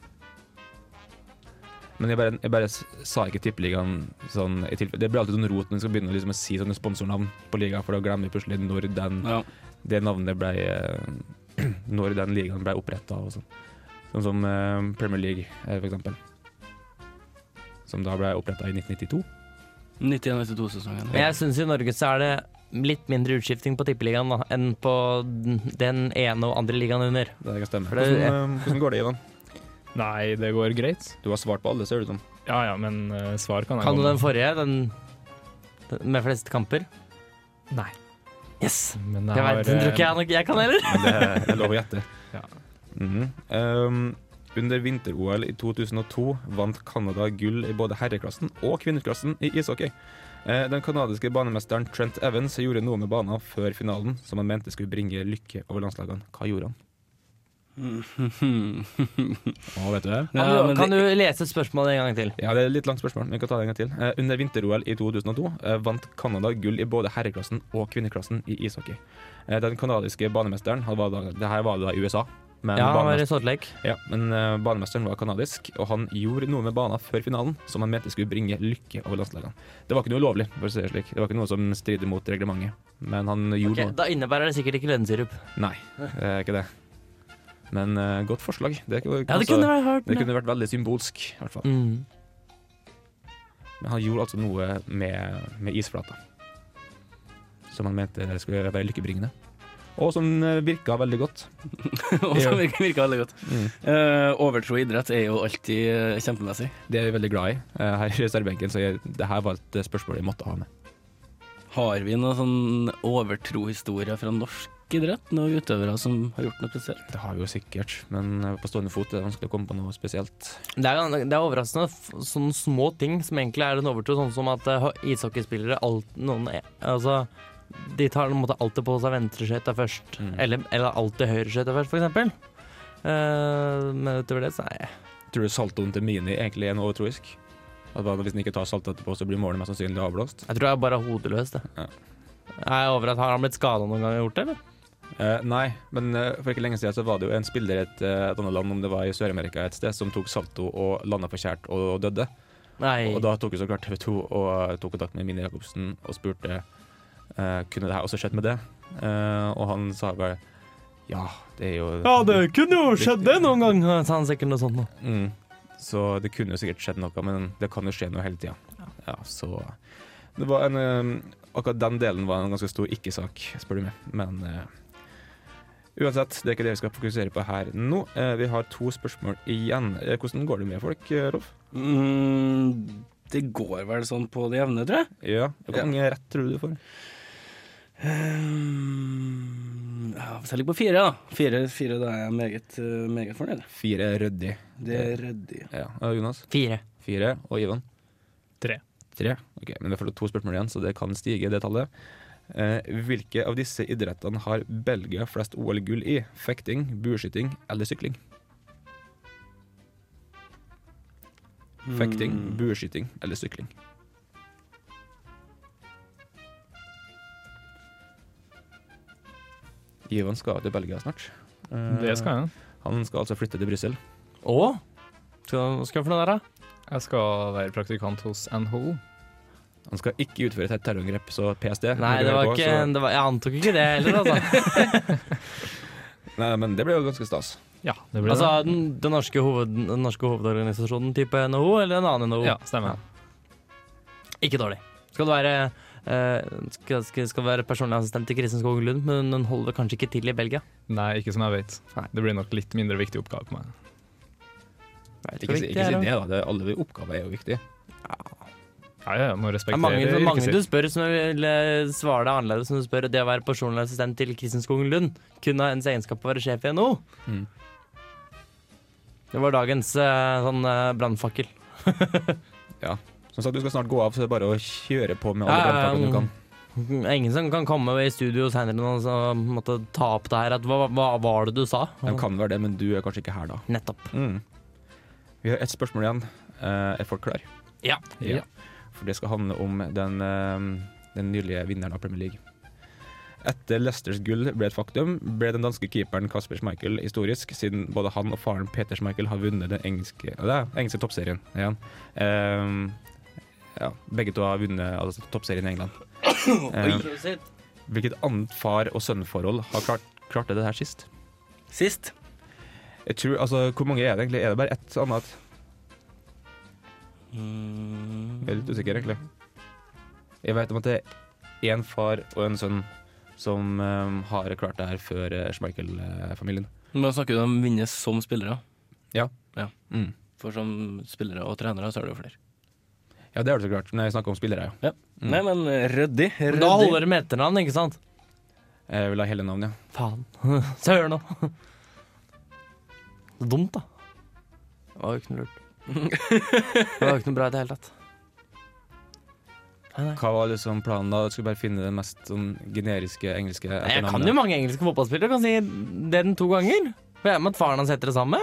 [SPEAKER 7] Men jeg bare, jeg bare s- sa ikke tippeligaen sånn i tilfelle. Det blir alltid sånn rot når vi skal begynne å liksom, å si sånne sponsornavn på ligaen, for da glemmer vi plutselig når den,
[SPEAKER 5] Ja.
[SPEAKER 7] det navnet ble eh, Når den ligaen ble oppretta og sånn. Sånn som eh, Premier League, eh, for eksempel. Som da ble oppretta i 1992.
[SPEAKER 5] 91-92-sesongen.
[SPEAKER 9] Men jeg syns i Norge så er det litt mindre utskifting på tippeligaen da, enn på den ene og andre ligaen under.
[SPEAKER 7] Det kan stemme.
[SPEAKER 9] For det-
[SPEAKER 7] Hvordan, eh, hvordan går det, Ivan?
[SPEAKER 8] Nei, det går greit.
[SPEAKER 7] Du har svart på alle, ser det ut som.
[SPEAKER 8] Ja ja, men eh, svar kan jeg
[SPEAKER 9] Kan du
[SPEAKER 8] komme
[SPEAKER 9] den forrige? Den, den med flest kamper? Nei. Yes!
[SPEAKER 8] Men
[SPEAKER 9] Jeg
[SPEAKER 8] har,
[SPEAKER 9] vet, den tror
[SPEAKER 8] eh,
[SPEAKER 9] ikke jeg nok jeg kan heller.
[SPEAKER 7] Men det er- det er lov å gjette.
[SPEAKER 8] Ja.
[SPEAKER 7] Mhm. Um, under vinter-OL i 2002 vant Canada gull i både herreklassen og kvinneklassen i ishockey. Eh, Den kanadiske banemesteren Trent Evans gjorde noe med banen før finalen som han mente skulle bringe lykke over landslagene. Hva gjorde han? Å, vet du det?
[SPEAKER 9] Kan,
[SPEAKER 5] Ja,
[SPEAKER 9] du,
[SPEAKER 5] men
[SPEAKER 9] kan
[SPEAKER 5] det-
[SPEAKER 9] du lese spørsmålet en gang til?
[SPEAKER 7] Ja, det er et litt langt spørsmål, men vi kan ta det en gang til. Eh, under vinter-OL i 2002 eh, vant Canada gull i både herreklassen og kvinneklassen i ishockey. Eh, den canadiske banemesteren han var da, Det her var da i USA. Men,
[SPEAKER 9] Ja, han var i
[SPEAKER 7] banemesteren,
[SPEAKER 9] Sortlek.
[SPEAKER 7] ja, men eh, banemesteren var kanadisk, og han gjorde noe med banen før finalen som han mente skulle bringe lykke over landslagene. Det var ikke noe ulovlig, for å si det slik. Det var ikke noe som strider mot reglementet. Men han
[SPEAKER 9] Ok,
[SPEAKER 7] gjorde
[SPEAKER 9] da innebærer det sikkert ikke lønnsirup.
[SPEAKER 7] noe. Nei, det er ikke det. Men eh, godt forslag. Det, er ikke-
[SPEAKER 9] Ja, det
[SPEAKER 7] altså,
[SPEAKER 9] kunne vært hørt.
[SPEAKER 7] det kunne vært veldig symbolsk, i hvert fall.
[SPEAKER 9] Mm.
[SPEAKER 7] Men han gjorde altså noe med, med isflata. Som han mente skulle være lykkebringende. Og som eh, virka veldig godt.
[SPEAKER 5] Og som virker, virker veldig godt.
[SPEAKER 7] Mm.
[SPEAKER 5] Eh, overtro i idrett er jo alltid eh, kjempemessig.
[SPEAKER 7] Det er vi veldig glad i eh, her i reservebenken, så jeg, det her var et spørsmål jeg måtte ha med.
[SPEAKER 5] Har vi noen sånn overtrohistorie fra norsk idrett? Noen utøvere som har gjort noe spesielt?
[SPEAKER 7] Det har vi jo sikkert, men eh, på stående fot er det vanskelig å komme på noe spesielt.
[SPEAKER 9] Det er, gan- det er overraskende f- sånne små ting som egentlig er en overtro, sånn som at eh, ho- ishockeyspillere alt, noen, er- altså, De tar på en måte alltid på seg venstreskøyta først,
[SPEAKER 7] Mm.
[SPEAKER 9] eller, eller alltid høyreskøyta først, f.eks. Uh, men utover det, så nei.
[SPEAKER 7] Tror du saltoen til Mini egentlig er noe overtroisk? At bare Hvis den ikke tar salt etterpå, så blir målet mest sannsynlig avblåst?
[SPEAKER 9] Jeg tror jeg bare er hodeløs, det.
[SPEAKER 7] Ja.
[SPEAKER 9] Jeg er overrasket. Har han blitt skada noen gang og gjort det, eller?
[SPEAKER 7] Eh, nei, men eh, for ikke lenge siden så var det jo en spiller i et, eh, et annet land, om det var i Sør-Amerika et sted, som tok salto og landa forkjært og døde.
[SPEAKER 9] Nei.
[SPEAKER 7] Og da tok jo så klart TV 2 og eh, tok kontakt med Mini Jacobsen og spurte eh, kunne det her også skjedd med det. Eh, og han sa bare ja, det er jo
[SPEAKER 9] kunne jo
[SPEAKER 7] skjedd
[SPEAKER 9] det noen gang! Sa han sikkert noe sånt noe.
[SPEAKER 7] Mm. Så det kunne jo sikkert skjedd noe, men det kan jo skje noe hele tida. Ja, så det var en eh, Akkurat den delen var en ganske stor ikke-sak, spør du meg. Men eh, uansett, det er ikke det vi skal fokusere på her nå. Eh, vi har to spørsmål igjen. Eh, hvordan går det med folk, eh, Rolf?
[SPEAKER 5] Mm, det går vel sånn på det jevne, tror jeg.
[SPEAKER 7] Ja, Hvor mange rett tror du du får?
[SPEAKER 5] Ehm, ja, hvis jeg ligger på fire, da. Fire, fire da er jeg meget, eh, meget fornøyd.
[SPEAKER 7] Fire er ryddig.
[SPEAKER 5] Det er ryddig.
[SPEAKER 7] Ja. Eh, Jonas?
[SPEAKER 9] Fire.
[SPEAKER 7] Fire. Og Ivan?
[SPEAKER 8] Tre.
[SPEAKER 7] Tre? Ok, Men det er fortsatt to spørsmål igjen, så det kan stige, det tallet. Eh, hvilke av disse idrettene har Belgia flest OL-gull i? Fekting, bueskyting eller sykling? Fekting,
[SPEAKER 9] Hmm.
[SPEAKER 5] Mm.
[SPEAKER 7] bueskyting eller sykling. Ivan skal til Belgia snart. Eh,
[SPEAKER 8] Det skal jeg.
[SPEAKER 7] Han skal altså flytte til Brussel.
[SPEAKER 9] Å? Skal hva skal jeg for noe der, da?
[SPEAKER 8] Jeg skal være praktikant hos NHO.
[SPEAKER 7] Han skal ikke utføre et terrorangrep, så PST når
[SPEAKER 9] Nei,
[SPEAKER 7] du
[SPEAKER 9] det
[SPEAKER 7] hører
[SPEAKER 9] var
[SPEAKER 7] på,
[SPEAKER 9] ikke
[SPEAKER 7] så-
[SPEAKER 9] det var, Jeg antok ikke det heller, altså.
[SPEAKER 7] Nei, men det ble jo ganske stas.
[SPEAKER 8] Ja, det blir
[SPEAKER 9] Altså den, den, norske hoved, den norske hovedorganisasjonen type NHO eller en annen NHO?
[SPEAKER 8] det. Ja, stemmer.
[SPEAKER 9] Ikke dårlig. Skal du være, eh, skal, skal, skal du være personlig assistent til Kristin Skogen Lund, men hun holder kanskje ikke til i Belgia?
[SPEAKER 8] Nei, ikke som jeg vet.
[SPEAKER 9] Nei.
[SPEAKER 8] Det blir nok litt mindre viktig oppgave på meg.
[SPEAKER 9] Jeg vet
[SPEAKER 7] Ikke,
[SPEAKER 9] hvor
[SPEAKER 7] si-
[SPEAKER 9] viktig
[SPEAKER 7] ikke
[SPEAKER 9] det
[SPEAKER 7] si
[SPEAKER 9] er,
[SPEAKER 7] det, da. Det, er- alle oppgaver er jo viktige.
[SPEAKER 8] Ja, ja, jeg må
[SPEAKER 9] Det er
[SPEAKER 8] respektere
[SPEAKER 9] mange, det er mange
[SPEAKER 8] yrket
[SPEAKER 9] du
[SPEAKER 8] sitt.
[SPEAKER 9] spør som vil eh, svare deg annerledes når du spør det å være personlig assistent til Kristin Skogen Lund. Kun av ens egenskap å være sjef i NHO.
[SPEAKER 7] Mm.
[SPEAKER 9] Det var dagens eh, sånn eh, brannfakkel.
[SPEAKER 7] Som sagt, du skal snart gå av, så det er bare å kjøre på med alle
[SPEAKER 9] Ja, ja, ja,
[SPEAKER 7] brannfagene du kan.
[SPEAKER 9] Det er Ingen som kan komme i studio senere og så måtte ta opp det her. At, hva, hva var det du sa?
[SPEAKER 7] De kan være det, men du er kanskje ikke her da.
[SPEAKER 9] Nettopp.
[SPEAKER 7] Mm. Vi har ett spørsmål igjen. Eh, er folk klare?
[SPEAKER 9] Ja.
[SPEAKER 7] Ja. For det skal handle om den, eh, den nylige vinneren av Premier League. Etter Leicesters gull ble et faktum, ble den danske keeperen Kasper Schmeichel historisk, siden både han og faren Peter Schmeichel har vunnet den engelske, ja, det er engelske toppserien igjen. Eh, ja, begge to har vunnet altså, toppserien i England. Eh, hvilket annet far- og sønnforhold har klart, klart det her sist?
[SPEAKER 5] Sist.
[SPEAKER 7] Jeg tror, altså, Hvor mange er det egentlig? Er det bare ett annet?
[SPEAKER 5] Mm.
[SPEAKER 7] Jeg er litt usikker, egentlig. Jeg vet om at det er én far og en sønn som eh, har klart det her før uh, Schmeichel-familien.
[SPEAKER 5] Nå snakker du om vinne som spillere.
[SPEAKER 7] Mm.
[SPEAKER 5] For som spillere og trenere så er det jo flere.
[SPEAKER 7] Ja, det har du så klart. Men jeg snakker om spillere, ja. Mm.
[SPEAKER 5] Nei, men eh, ryddig.
[SPEAKER 9] Men Da holder det med etternavn, ikke sant?
[SPEAKER 7] Jeg vil ha hele navnet, ja.
[SPEAKER 9] Faen. Søren nå Så dumt, da. Det var jo ikke noe lurt. Det var jo ikke noe bra i det hele tatt. Nei, nei.
[SPEAKER 7] Hva var liksom planen da? Du skulle bare finne det mest sånn, generiske engelske
[SPEAKER 9] Jeg kan jo
[SPEAKER 7] etternavnet?
[SPEAKER 9] mange engelske fotballspillere. Kan si det den to ganger. For jeg er med at faren hans heter det samme.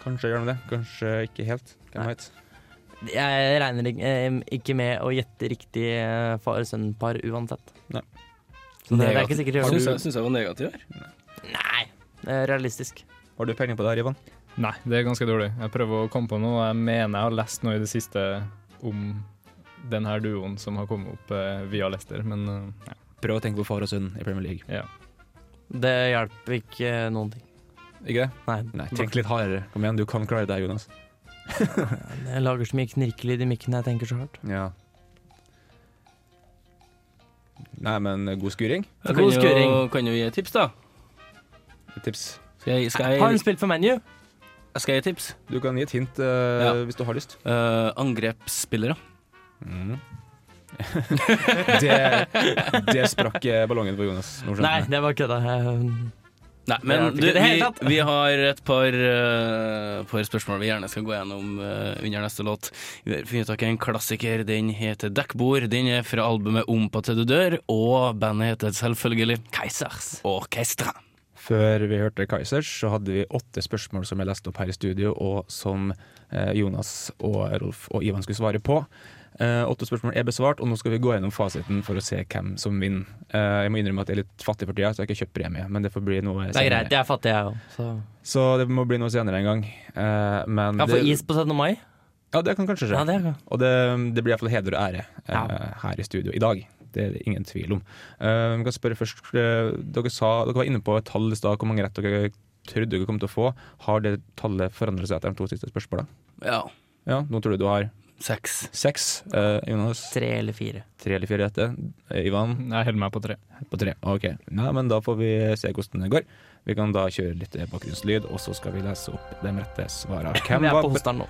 [SPEAKER 7] Kanskje gjør de det, kanskje ikke helt. Hvem
[SPEAKER 9] Nei.
[SPEAKER 7] vet.
[SPEAKER 9] Jeg regner ik- eh, ikke med å gjette riktig eh, far-sønn-par uansett.
[SPEAKER 7] Nei.
[SPEAKER 9] Så det, det er ikke sikkert jeg
[SPEAKER 7] Har
[SPEAKER 9] gjør
[SPEAKER 7] du-
[SPEAKER 9] det.
[SPEAKER 5] Syns jeg var negativ her.
[SPEAKER 9] Nei, det er realistisk.
[SPEAKER 7] Har du peiling på det her, Ivan?
[SPEAKER 8] Nei, det er ganske dårlig. Jeg prøver å komme på noe. Jeg mener jeg har lest noe i det siste om den her duoen som har kommet opp eh, via Leicester, men eh,
[SPEAKER 7] Prøv å tenke på far og sønn i Premier League.
[SPEAKER 8] ja.
[SPEAKER 9] Det hjelper ikke eh, noen ting.
[SPEAKER 7] Ikke det?
[SPEAKER 9] Nei,
[SPEAKER 7] Nei, tenk litt hardere. Kom igjen, du kan klare det, Jonas.
[SPEAKER 9] jeg lager så mye knirkelyd i mikken når jeg tenker så hardt.
[SPEAKER 7] Ja. Nei, men god skuring.
[SPEAKER 5] Jeg
[SPEAKER 9] God
[SPEAKER 5] kan jo,
[SPEAKER 9] skuring.
[SPEAKER 5] kan jo gi et tips, da.
[SPEAKER 7] Tips.
[SPEAKER 5] Skal jeg, skal
[SPEAKER 9] Har
[SPEAKER 5] jeg,
[SPEAKER 9] hun spilt for ManU?
[SPEAKER 5] skal jeg gi et tips?
[SPEAKER 7] Du kan gi et hint eh,
[SPEAKER 5] Ja.
[SPEAKER 7] hvis du har lyst.
[SPEAKER 5] Eh, angrepsspillere.
[SPEAKER 7] Mm. Det, det sprakk eh, ballongen for Jonas. Nå skjønner
[SPEAKER 9] Nei,
[SPEAKER 7] jeg.
[SPEAKER 9] det var kødda. Jeg-
[SPEAKER 5] Nei, men
[SPEAKER 9] Det
[SPEAKER 5] du,
[SPEAKER 9] er det ikke i det
[SPEAKER 5] vi,
[SPEAKER 9] hele tatt.
[SPEAKER 5] vi har et par, eh, par spørsmål vi gjerne skal gå gjennom eh, under neste låt. Vi har funnet tak i en klassiker. Den heter 'Dekkbord'. Den er fra albumet 'Om på til du dør', og bandet heter selvfølgelig Keisers Orkestra.
[SPEAKER 7] Før vi hørte Kaizers, så hadde vi åtte spørsmål som jeg leste opp her i studio, og som eh, Jonas og Rolf og Ivan skulle svare på. Eh, åtte spørsmål er besvart, og nå skal vi gå gjennom fasiten for å se hvem som vinner. Eh, jeg må innrømme at jeg er litt fattig for tida, så jeg har ikke kjøpt premie, men det får bli noe
[SPEAKER 9] Det er greit, jeg er fattig, jeg òg.
[SPEAKER 7] Så det må bli noe senere en gang. Eh, men
[SPEAKER 9] Kan få
[SPEAKER 7] det,
[SPEAKER 9] is på 17. mai.
[SPEAKER 7] ja, det kan kanskje skje.
[SPEAKER 9] Ja, det kan.
[SPEAKER 7] Og det, det blir i hvert fall heder og ære eh,
[SPEAKER 9] Ja.
[SPEAKER 7] her i studio i dag. Det er det ingen tvil om. Eh, vi kan spørre først, eh, dere, sa, dere var inne på et tall i stad, hvor mange rett dere trodde dere kom til å få. Har det tallet forandret seg etter de to siste spørsmålene?
[SPEAKER 5] Ja,
[SPEAKER 7] Ja, nå tror du du har
[SPEAKER 5] seks.
[SPEAKER 7] seks, eh, Jonas.
[SPEAKER 9] Tre eller fire.
[SPEAKER 7] Tre eller fire rette. Eh, Ivan
[SPEAKER 8] Jeg holder meg på tre.
[SPEAKER 7] på tre. Ok, Nei, men da får vi se hvordan det går. Vi kan da kjøre litt bakgrunnslyd, og så skal vi lese opp de rette svarene.
[SPEAKER 9] Vi er på hosteren nå.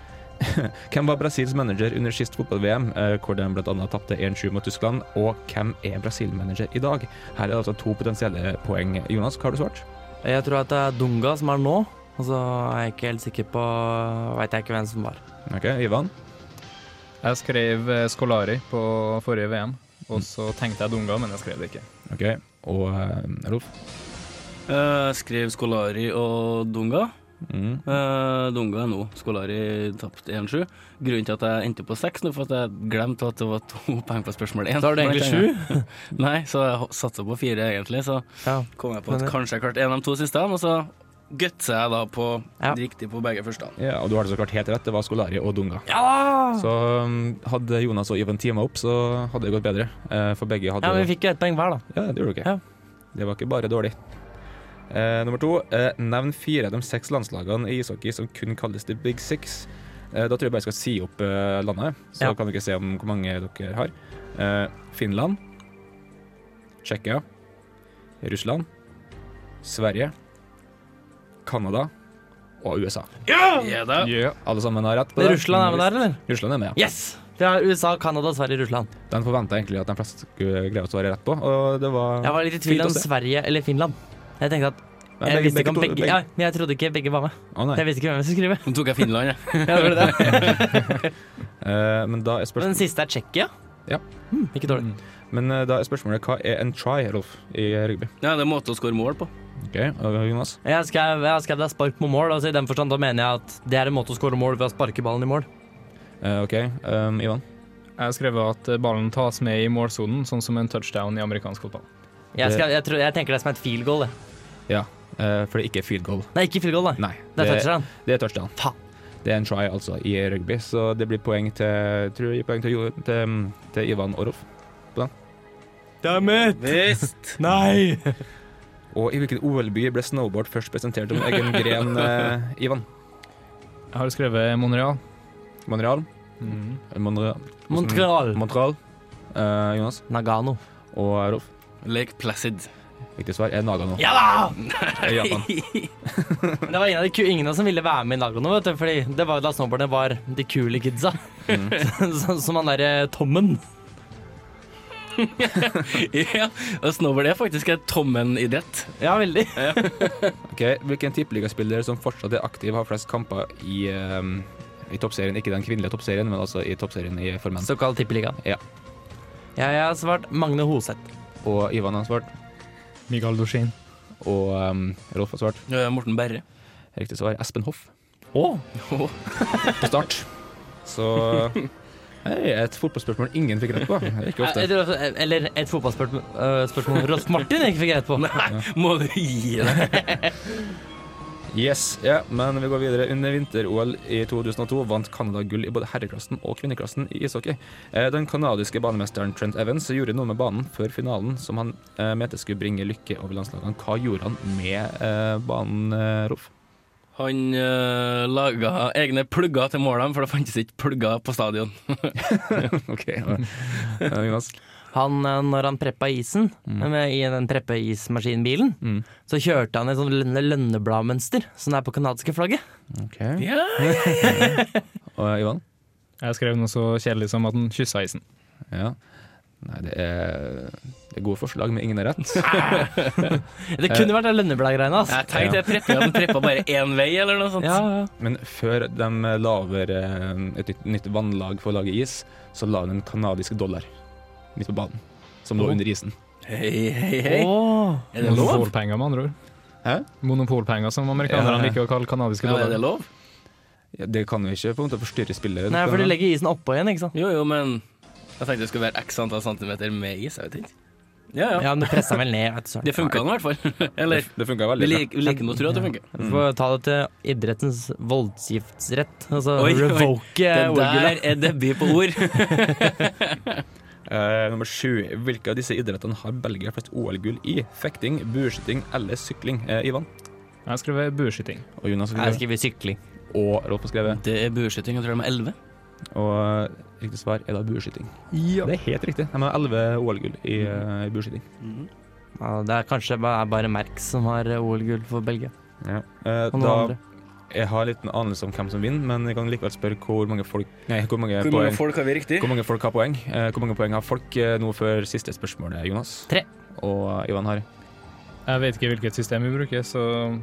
[SPEAKER 7] Hvem var Brasils manager under sist fotball-VM, eh, hvor de bl.a. tapte 1-7 mot Tyskland, og hvem er Brasil-manager i dag? Her er det altså to potensielle poeng. Jonas, hva har du svart?
[SPEAKER 9] Jeg tror at det er Dunga som er nå, og så er jeg ikke helt sikker på Veit jeg ikke hvem som var.
[SPEAKER 7] Ok, Ivan.
[SPEAKER 8] Jeg skrev eh, Scolari på forrige VM, og så tenkte jeg Dunga, men jeg skrev det ikke.
[SPEAKER 7] Ok, Og eh, Rolf.
[SPEAKER 5] Eh, skrev Skolari og Dunga.
[SPEAKER 7] Mm.
[SPEAKER 5] Eh, Dunga er nå. Skolari tapte 1-7. Grunnen til at jeg endte på seks, nå, for at jeg glemte at det var to poeng på spørsmål én.
[SPEAKER 9] Da har du egentlig sju.
[SPEAKER 5] Nei, så jeg ho- satsa på fire, egentlig. Så
[SPEAKER 9] Ja.
[SPEAKER 5] kom jeg på at
[SPEAKER 9] Men det-
[SPEAKER 5] kanskje jeg klarte en av de to siste, og så gutsa jeg da på
[SPEAKER 9] Ja.
[SPEAKER 5] riktig på begge første.
[SPEAKER 7] Ja, og du har det så klart helt rett. Det var Skolari og Dunga.
[SPEAKER 9] ja da!
[SPEAKER 7] Så mm, hadde Jonas og Ivan teama opp, så hadde det gått bedre. Eh, For begge hadde
[SPEAKER 9] Ja, men vi fikk jo ett poeng hver, da.
[SPEAKER 7] Ja, det gjorde du ikke.
[SPEAKER 9] Ja.
[SPEAKER 7] Det var ikke bare dårlig. Eh, nummer to. Eh, nevn fire av de seks landslagene i ishockey som kun kalles The Big Six. Eh, da tror jeg bare jeg skal si opp eh, landet, så
[SPEAKER 9] Ja.
[SPEAKER 7] kan dere se om hvor mange dere har. Eh, Finland. Tsjekkia. Russland. Sverige. Canada. Og USA.
[SPEAKER 5] Ja, da.
[SPEAKER 7] Alle sammen har rett på det.
[SPEAKER 9] Russland er med der, eller?
[SPEAKER 7] Russland er med, ja.
[SPEAKER 9] Yes! Vi har USA, Canada, Sverige, Russland.
[SPEAKER 7] Den forventa egentlig at de fleste skulle greie å svare rett på, og det var
[SPEAKER 9] Jeg var litt i
[SPEAKER 7] Fint
[SPEAKER 9] tvil
[SPEAKER 7] å
[SPEAKER 9] om
[SPEAKER 7] se.
[SPEAKER 9] Sverige eller Finland. Jeg tenkte at
[SPEAKER 7] Nei,
[SPEAKER 9] jeg
[SPEAKER 7] begge-
[SPEAKER 9] visste ikke om
[SPEAKER 7] begge to-
[SPEAKER 9] begge Ja, men jeg trodde ikke begge var med.
[SPEAKER 7] Å, nei.
[SPEAKER 9] Jeg visste ikke hvem jeg skulle
[SPEAKER 5] Nå tok jeg Finland, jeg.
[SPEAKER 9] skrive.
[SPEAKER 7] Eh, men da er spørsmålet
[SPEAKER 9] Den siste er Tsjekkia.
[SPEAKER 7] Ja.
[SPEAKER 9] Hmm, ikke dårlig.
[SPEAKER 7] Men eh, da er spørsmålet hva er en try, Rolf, i rugby?
[SPEAKER 5] Ja, det er måte å score mål på.
[SPEAKER 7] Ok, og Jonas?
[SPEAKER 9] Jeg skrev, jeg skrev det er spark på mål. Altså I den forstand da mener jeg at det er en måte å skåre mål ved å sparke ballen i mål.
[SPEAKER 7] Eh, ok, um, Ivan?
[SPEAKER 8] Jeg skrev at eh, ballen tas med i målsonen, sånn som en touchdown i amerikansk fotball.
[SPEAKER 9] Jeg,
[SPEAKER 7] Det-
[SPEAKER 9] skrev, jeg, tror, jeg tenker det er som et field goal. det.
[SPEAKER 7] Ja, eh, for det er ikke field goal.
[SPEAKER 9] Nei, ikke field goal, nei.
[SPEAKER 7] Nei,
[SPEAKER 9] Det er touchdown.
[SPEAKER 7] det er touchdown.
[SPEAKER 9] Faen.
[SPEAKER 7] Det er en try, altså, i rugby, så det blir poeng til, tror jeg, gir poeng til, Jo- til, mm, til Ivan og Rolf.
[SPEAKER 9] Damn it!
[SPEAKER 5] Visst!
[SPEAKER 9] Nei!
[SPEAKER 7] Og i hvilken OL-by ble snowboard først presentert som egen gren, eh, Ivan?
[SPEAKER 8] Jeg har skrevet Monreal.
[SPEAKER 7] Montreal?
[SPEAKER 9] Mm.
[SPEAKER 7] Monreal.
[SPEAKER 9] Montreal.
[SPEAKER 7] Montreal. Eh, Jonas
[SPEAKER 9] Nagano.
[SPEAKER 7] og Rolf.
[SPEAKER 5] Lake Placid.
[SPEAKER 7] Riktig svar er Nagano.
[SPEAKER 9] Ja da!
[SPEAKER 7] i Japan.
[SPEAKER 9] Men det var ingen av de ku- ingen av oss som ville være med i Nagano, vet du, fordi det var jo da snowboardene var de kule kidsa. Sånn som han derre Tommen.
[SPEAKER 5] ja, og snowboard er faktisk en tommenidrett.
[SPEAKER 9] Ja, veldig.
[SPEAKER 7] Ok, Hvilken tippeligaspiller som fortsatt er aktiv, har flest kamper i, ehm, i toppserien? Ikke den kvinnelige toppserien, men altså i toppserien i for menn.
[SPEAKER 9] Såkalt tippeligaen.
[SPEAKER 7] Ja.
[SPEAKER 9] Jeg har svart Magne Hoseth.
[SPEAKER 7] Og Ivan har svart.
[SPEAKER 8] Mikael Dorsin.
[SPEAKER 7] og um, Rolf har svart.
[SPEAKER 5] Eh, Morten Berre.
[SPEAKER 7] Riktig svar Espen Hoff
[SPEAKER 5] Oh.
[SPEAKER 7] på start. Så Hei, et fotballspørsmål ingen fikk rett på. Det er ikke ofte.
[SPEAKER 9] Jeg tror også- Eh, Eller et fotballspørsmål øh, spørsmål Rolf Martin ikke fikk rett på.
[SPEAKER 5] Må du gi deg?
[SPEAKER 7] Yes, ja, men vi går videre. Under vinter-OL i 2002 vant Canada gull i både herreklassen og kvinneklassen i ishockey. Eh, Den canadiske banemesteren Trent Evans gjorde noe med banen før finalen som han eh, mente skulle bringe lykke over landslagene. Hva gjorde han med eh, banen, eh, Rolf?
[SPEAKER 5] Han uh, laga egne plugger til målene, for det fantes ikke plugger på stadion.
[SPEAKER 7] OK, ja.
[SPEAKER 8] Mm.
[SPEAKER 7] Eh, Jonas.
[SPEAKER 9] Han, eh, når han preppa isen
[SPEAKER 5] Mm.
[SPEAKER 9] med, i den preppeismaskinbilen,
[SPEAKER 7] Mm.
[SPEAKER 9] så kjørte han i sånn lønne- lønnebladmønster som det er på kanadiske flagget.
[SPEAKER 5] Ja.
[SPEAKER 7] Og eh, Ivan?
[SPEAKER 8] Jeg skrev noe så kjedelig som at han kyssa isen.
[SPEAKER 7] Ja. Nei, det er, det er gode forslag, men ingen er rett.
[SPEAKER 9] Det
[SPEAKER 5] Eh.
[SPEAKER 9] kunne vært det lønnebladgreiene, altså.
[SPEAKER 5] Jeg tenkte jeg preppa, at han preppa bare én vei, eller noe sånt.
[SPEAKER 9] Ja, ja.
[SPEAKER 7] Men før de la over eh, et nytt, nytt vannlag for å lage is, så la de en kanadisk dollar midt på banen, som
[SPEAKER 8] Oh.
[SPEAKER 7] lå under isen.
[SPEAKER 5] Hei, hei, hei.
[SPEAKER 9] Åh.
[SPEAKER 5] Er det lov?
[SPEAKER 8] Monopolpenger, med andre ord.
[SPEAKER 7] Hæ?
[SPEAKER 8] Monopolpenger, som amerikanerne
[SPEAKER 7] Ja.
[SPEAKER 8] liker å kalle kanadiske
[SPEAKER 5] Ja, er
[SPEAKER 8] dollar.
[SPEAKER 5] det lov?
[SPEAKER 7] Ja, det kan jo ikke på en måte forstyrre spillet.
[SPEAKER 9] Nei, for de legger isen oppå igjen, ikke sant.
[SPEAKER 5] Jo, jo, men jeg tenkte det skulle være x antall centimeter med is. Jeg vet ikke. Ja, ja.
[SPEAKER 9] Ja, men du presser vel ned, vet du søren.
[SPEAKER 5] Det funka nå i hvert fall. Eller
[SPEAKER 7] Det funka
[SPEAKER 5] vi
[SPEAKER 7] veldig bra. Mm.
[SPEAKER 5] liker, vi liker nå å tro at det funker.
[SPEAKER 9] Du får ta det til idrettens voldgiftsrett. Altså
[SPEAKER 5] Oi, oi.
[SPEAKER 9] revoke
[SPEAKER 5] Det der
[SPEAKER 9] OL-gullet.
[SPEAKER 5] er debut på ord.
[SPEAKER 7] Eh, nummer sju. Hvilke av disse idrettene har Belgia flest OL-gull i? Fekting, bueskyting eller sykling? Eh, Ivan
[SPEAKER 8] Jeg skrev bueskyting.
[SPEAKER 7] og Jonas har
[SPEAKER 9] Jeg
[SPEAKER 7] skrevet.
[SPEAKER 9] skriver sykling.
[SPEAKER 7] Og Rolf har skrevet.
[SPEAKER 5] Det er bueskyting, jeg tror de er elleve.
[SPEAKER 7] Og eh, riktig svar er da bueskyting. Det er helt riktig. De har elleve OL-gull i, eh, i bueskyting.
[SPEAKER 9] Ja, det er kanskje bare, bare Merck som har OL-gull for Belgia.
[SPEAKER 7] Ja. Eh,
[SPEAKER 9] Og noen
[SPEAKER 7] da
[SPEAKER 9] andre.
[SPEAKER 7] Jeg har litt en anelse om hvem som vinner, men jeg kan likevel spørre hvor mange folk Nei, hvor mange, poeng,
[SPEAKER 5] folk har vi riktig?
[SPEAKER 7] hvor mange folk har poeng. Eh, Hvor mange poeng har folk eh, nå før siste spørsmål, eh, Jonas?
[SPEAKER 9] Tre.
[SPEAKER 7] Og eh, Ivan har
[SPEAKER 8] Jeg vet ikke hvilket system vi bruker, så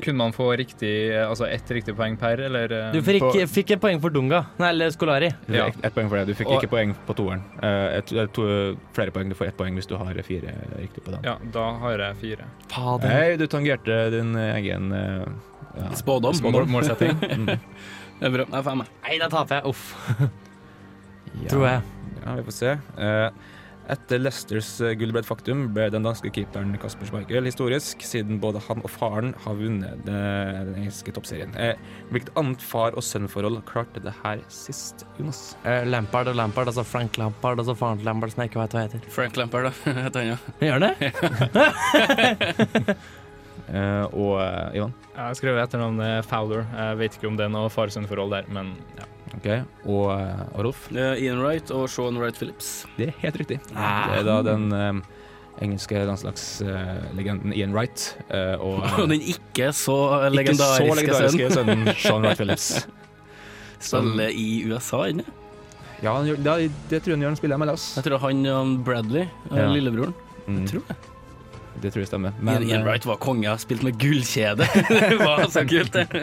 [SPEAKER 8] Kunne man få riktig, altså ett riktig poeng per, eller eh,
[SPEAKER 9] Du fikk, fikk et poeng for Dunga. Nei, eller Skolari.
[SPEAKER 8] Ja.
[SPEAKER 7] ett ett poeng for det. Du fikk
[SPEAKER 8] Og-
[SPEAKER 7] ikke poeng på toeren. Eh, et- eh, to- Flere poeng. Du får ett poeng hvis du har fire riktig på den.
[SPEAKER 8] Ja, da har jeg fire.
[SPEAKER 9] Fader.
[SPEAKER 7] Nei, du tangerte din egen eh, ja. Mm.
[SPEAKER 5] Spådom.
[SPEAKER 8] Mål, målsetting.
[SPEAKER 5] Det er bra. Jeg er fem, jeg.
[SPEAKER 9] Nei, da taper jeg. Uff,
[SPEAKER 7] Ja.
[SPEAKER 9] tror jeg.
[SPEAKER 7] Ja, vi får se. Eh, Etter Leicesters eh, gull ble et faktum, ble den danske keeperen Kasper Schmeichel historisk, siden både han og faren har vunnet eh, den engelske toppserien. Eh, Hvilket annet far- og sønnforhold klarte det her sist, Jonas?
[SPEAKER 9] Eh, Lampard og Lampard, altså Frank Lampard, altså faren til Lampard som jeg ikke vet hva heter.
[SPEAKER 5] Frank Lampard, da. Et annet.
[SPEAKER 9] Gjør det?
[SPEAKER 7] Eh, Og eh, Ivan?
[SPEAKER 8] Jeg har skrevet etternavnet Fowler. Jeg vet ikke om det er noe far-sønn-forhold der, men ja.
[SPEAKER 7] Ok, Og, eh, og Rolf?
[SPEAKER 5] Eh, Ian Wright og Sean Wright Phillips.
[SPEAKER 7] Det er helt riktig. Det er da den eh, engelske landslagslegenden Ian Wright eh, og eh,
[SPEAKER 5] Og den ikke så
[SPEAKER 7] ikke så
[SPEAKER 5] legendariske sønnen
[SPEAKER 7] legendariske sønnen Sean Wright Phillips.
[SPEAKER 5] spiller i USA ennå.
[SPEAKER 7] Ja, han gjør- det, det tror jeg han gjør, han spiller MLS.
[SPEAKER 5] Jeg tror han og Bradley, eh,
[SPEAKER 7] Ja.
[SPEAKER 5] lillebroren
[SPEAKER 7] Mm.
[SPEAKER 5] Tror jeg.
[SPEAKER 7] Det tror jeg stemmer.
[SPEAKER 5] Ian- Ian
[SPEAKER 7] eh,
[SPEAKER 5] Wright var konge, har spilt med gullkjede. det var så kult, det.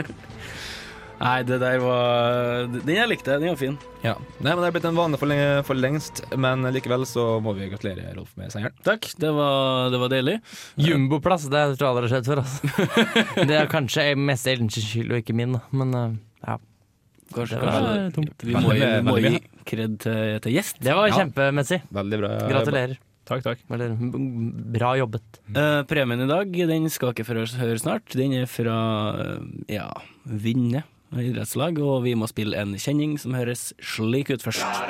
[SPEAKER 5] Nei, det der var Den jeg likte, den var fin.
[SPEAKER 7] Ja. Nei, men Det er blitt en vane for, lenge, for lengst, men likevel så må vi gratulere Rolf med seieren.
[SPEAKER 5] Takk, det var, det var deilig.
[SPEAKER 9] Jumboplass, det tror jeg aldri har skjedd før. Altså. Det er kanskje mest Elgens skyld og ikke min, da. Men eh, ja.
[SPEAKER 5] Kanskje,
[SPEAKER 9] Det var
[SPEAKER 5] kanskje
[SPEAKER 9] dumt.
[SPEAKER 5] Vi må, gi-
[SPEAKER 7] Veldig-
[SPEAKER 5] må
[SPEAKER 7] veldig
[SPEAKER 5] gi kred til, til gjest.
[SPEAKER 9] Det var
[SPEAKER 7] Ja.
[SPEAKER 9] kjempemessig.
[SPEAKER 7] Veldig bra.
[SPEAKER 9] Gratulerer.
[SPEAKER 8] Takk, takk.
[SPEAKER 9] Eller b- bra jobbet.
[SPEAKER 5] Eh, premien i dag den skal ikke få høre snart. Den er fra eh, ja, Vinne idrettslag, og vi må spille en kjenning som høres slik ut først.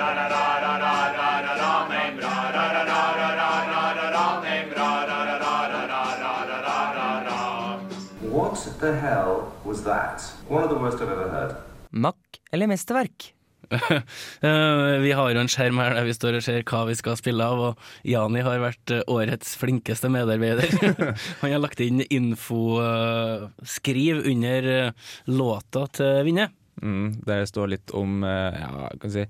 [SPEAKER 10] What the hell was that? One of the worst I've ever heard.
[SPEAKER 9] Makk eller mesterverk?
[SPEAKER 5] Eh, vi har jo en skjerm her der vi står og ser hva vi skal spille av, og Jani har vært eh, årets flinkeste medarbeider. Han har lagt inn infoskriv under eh, låta til Vinne.
[SPEAKER 7] Mm, der står litt om eh, ja, kan jeg si,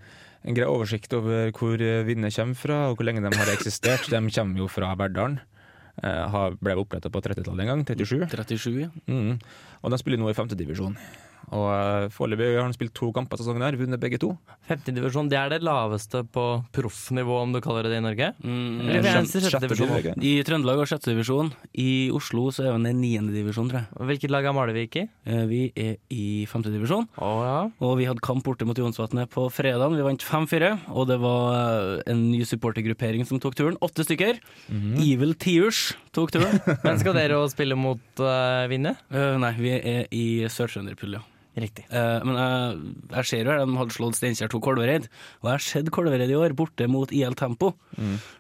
[SPEAKER 7] en grei oversikt over hvor eh, vinner kommer fra, og hvor lenge de har eksistert. De kommer jo fra Verdalen. eh, har- ble oppretta på 30-tallet en gang, 37.
[SPEAKER 5] 37, ja.
[SPEAKER 7] Mm. Og de spiller nå i femtedivisjon. Og eh, foreløpig har de spilt to kamper sesongen her, vunnet begge to.
[SPEAKER 9] Femtedivisjon, det er det laveste på proffnivå, om du kaller det det i Norge?
[SPEAKER 5] Mm,
[SPEAKER 9] Eller
[SPEAKER 7] Sjette-
[SPEAKER 9] eneste sjette
[SPEAKER 7] Eh, sjette
[SPEAKER 9] divisjon.
[SPEAKER 7] divisjon, ikke?
[SPEAKER 5] I Trøndelag har sjette divisjon. I Oslo så er vi i niende divisjon, tror jeg.
[SPEAKER 9] Hvilket lag er Malvik i?
[SPEAKER 5] Eh, Vi er i femte divisjon,
[SPEAKER 9] Å ja.
[SPEAKER 5] og vi hadde kamp borte mot Jonsvatnet på fredag. Vi vant 5-4, og det var eh, en ny supportergruppering som tok turen. Åtte stykker. Evil Tears tok turen.
[SPEAKER 9] Men skal dere jo spille mot uh, Vinje?
[SPEAKER 5] Eh, nei, vi er i Sør-Trønderpulja.
[SPEAKER 9] Riktig.
[SPEAKER 5] Eh, men jeg, jeg ser jo her, de hadde slått Steinkjer to Kolvereid, og jeg har sett Kolvereid i år, borte mot IL Tempo.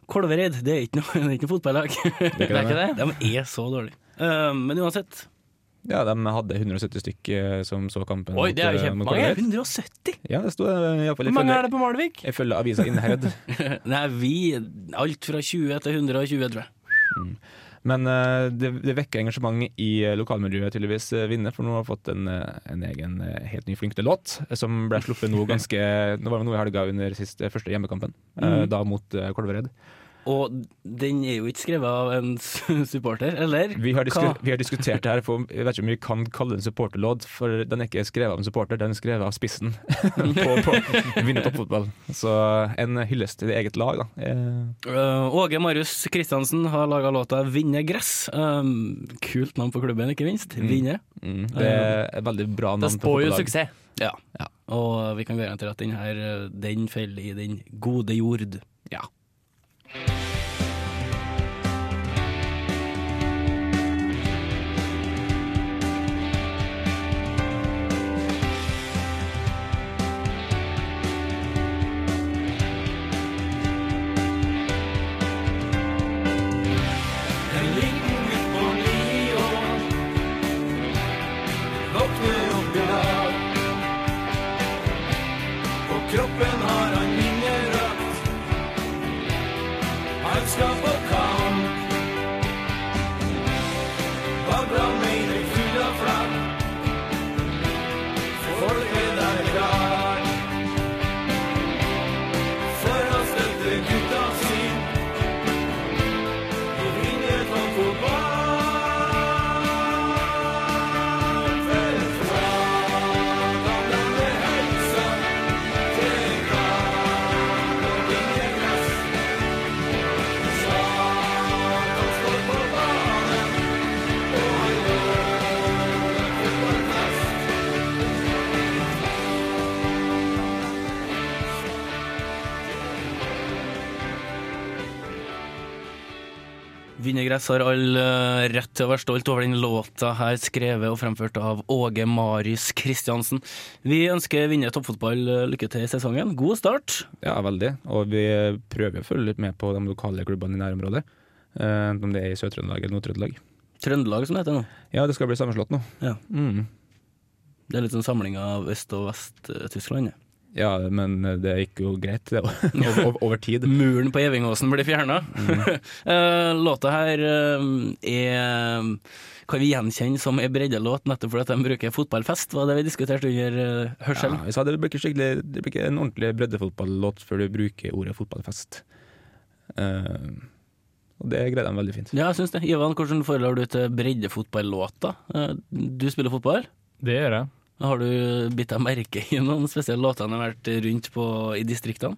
[SPEAKER 5] Kolvereid, det er ikke noe, det er ikke noe fotballag.
[SPEAKER 9] Mm. Det er ikke det?
[SPEAKER 5] De er så dårlige. Eh, men uansett.
[SPEAKER 7] Ja, de hadde 170 stykk eh, som så kampen.
[SPEAKER 9] Oi,
[SPEAKER 7] mot,
[SPEAKER 9] det er jo
[SPEAKER 7] eh, mot
[SPEAKER 9] kjempemange.
[SPEAKER 7] Kolgreit.
[SPEAKER 5] 170!
[SPEAKER 7] Ja, det sto eh, iallfall
[SPEAKER 9] Hvor mange er det på Malvik?
[SPEAKER 7] ifølge avisa Innherred.
[SPEAKER 9] Eh,
[SPEAKER 5] Nei, vi Alt fra 20 til 120, tror jeg.
[SPEAKER 7] Men eh, det, det vekker engasjement i eh, lokalmiljøet, tydeligvis, eh, Vinne. For nå har vi fått en, eh, en egen eh, helt ny flink låt, eh, som ble sluppet nå ganske Nå var det nå i helga under sist, eh, første hjemmekampen, eh,
[SPEAKER 9] Mm.
[SPEAKER 7] da mot eh, Kolvereid.
[SPEAKER 5] Og den er jo ikke skrevet av en s- supporter, eller?
[SPEAKER 7] Vi har, disku,
[SPEAKER 5] Hva?
[SPEAKER 7] vi har diskutert det her, for jeg vet ikke om vi kan kalle det en supporterlåt, for den er ikke skrevet av en supporter, den er skrevet av spissen på, på Vinne toppfotball. Så eh, en hyllest til eget lag, da. Eh,
[SPEAKER 5] Øh, Åge Marius Kristiansen har laga låta 'Vinne gress'. Ehm, kult navn på klubben, ikke minst. Vinne.
[SPEAKER 7] Mm, det er et veldig bra navn
[SPEAKER 9] Det
[SPEAKER 7] på
[SPEAKER 9] spår jo
[SPEAKER 7] fotballag.
[SPEAKER 9] suksess.
[SPEAKER 5] Ja. Og vi kan garantere at den her, øh, den faller i den gode jord. Ja. Vinnergress har all eh, rett til å være stolt over den låta her, skrevet og fremført av Åge Marius Kristiansen. Vi ønsker Vinje toppfotball eh, lykke til i sesongen. God start.
[SPEAKER 7] Ja, veldig. Og vi prøver å følge litt med på de lokale klubbene i nærområdet. Eh, om det er i Sør-Trøndelag eller Nord-Trøndelag.
[SPEAKER 5] Trøndelag, som det heter nå.
[SPEAKER 7] Ja, det skal bli sammenslått nå.
[SPEAKER 5] Ja.
[SPEAKER 7] Mm.
[SPEAKER 5] Det er litt sånn samling av Øst- og eh, Vest-Tyskland.
[SPEAKER 7] ja, men det gikk jo greit, det. over, over, over tid.
[SPEAKER 5] Muren på Evingåsen blir fjerna. Låta her eh, er kan vi gjenkjenne som en breddelåt, nettopp fordi at de bruker fotballfest, var det vi diskuterte under eh,
[SPEAKER 7] Ja,
[SPEAKER 5] hørselen.
[SPEAKER 7] jeg sa det blir ikke, skikkelig- det blir ikke en ordentlig breddefotballåt før du bruker ordet fotballfest. Eh, og det greide de veldig fint.
[SPEAKER 5] Ja, jeg syns det. Ivan, hvordan forholder du til breddefotballåter? Eh, Du spiller fotball.
[SPEAKER 8] Det gjør jeg.
[SPEAKER 5] Har du bitt deg merke i noen spesielle låter han har vært rundt på i distriktene?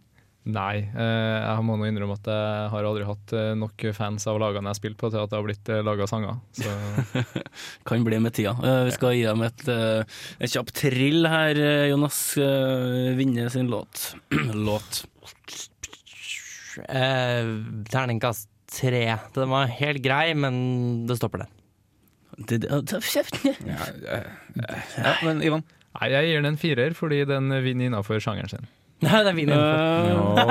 [SPEAKER 8] Nei, eh, jeg må nå innrømme at jeg har aldri hatt eh, nok fans av lagene jeg har spilt på til at det har blitt eh, laga sanger. Så
[SPEAKER 5] Kan bli med tida. Eh, Vi skal gi dem et, eh, et kjapt trill her, eh, Jonas. eh, Vinne sin låt. låt.
[SPEAKER 9] Eh, terningkast tre. Den var helt grei, men det stopper der.
[SPEAKER 5] Det, det, det, kjeft ned.
[SPEAKER 7] Ja, eh, eh, ja, men Ivan?
[SPEAKER 8] Nei, jeg gir den en firer fordi den vinner innafor sjangeren sin.
[SPEAKER 9] Nei, den vinner den. Eh,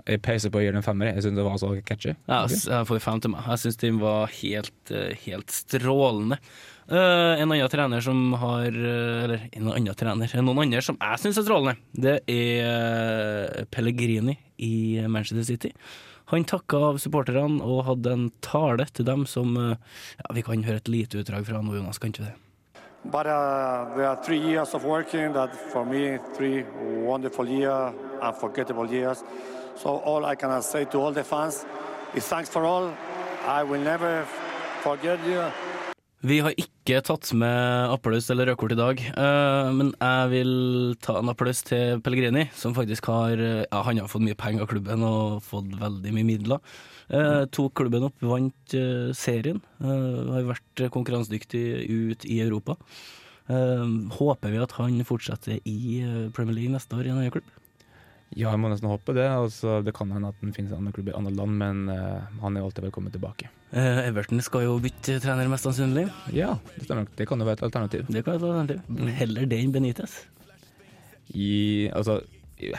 [SPEAKER 7] Ja. Jeg peiser på å gi den en femmer. Jeg syns det var så catchy.
[SPEAKER 5] Ja, s- jeg får fem til meg. Jeg syns den var helt, eh, helt strålende. Eh, en annen trener som har eh, Eller en annen trener Noen andre som jeg syns er strålende, det er eh, Pellegrini i Manchester City. Han takka av supporterne og hadde en tale til dem som eh, ja, Vi kan høre et lite utdrag fra nå, Jonas, kan ikke vi det?
[SPEAKER 2] But uh, there are three years of working that for me, three wonderful years, unforgettable years. So all I can say to all the fans is thanks for all. I will never forget you.
[SPEAKER 5] Vi har ikke tatt med applaus eller rødkort i dag, eh, men jeg vil ta en applaus til Pellegrini, som faktisk har eh, ja, Han har fått mye penger av klubben og fått veldig mye midler. Eh, tok klubben opp, vant eh, serien. eh, har vært konkurransedyktig ut i Europa. Eh, håper vi at han fortsetter i eh, Premier League neste år i en annen klubb.
[SPEAKER 7] Ja, jeg må nesten håpe det. Altså, det kan hende at den finnes i andre klubber i andre land, men eh, han er alltid velkommen tilbake.
[SPEAKER 5] Eh, Everton skal jo bytte trener, mest sannsynlig.
[SPEAKER 7] Ja, det stemmer nok. Det kan jo være et alternativ.
[SPEAKER 5] Det kan være et alternativ. Heller det enn Benitez.
[SPEAKER 7] I, altså,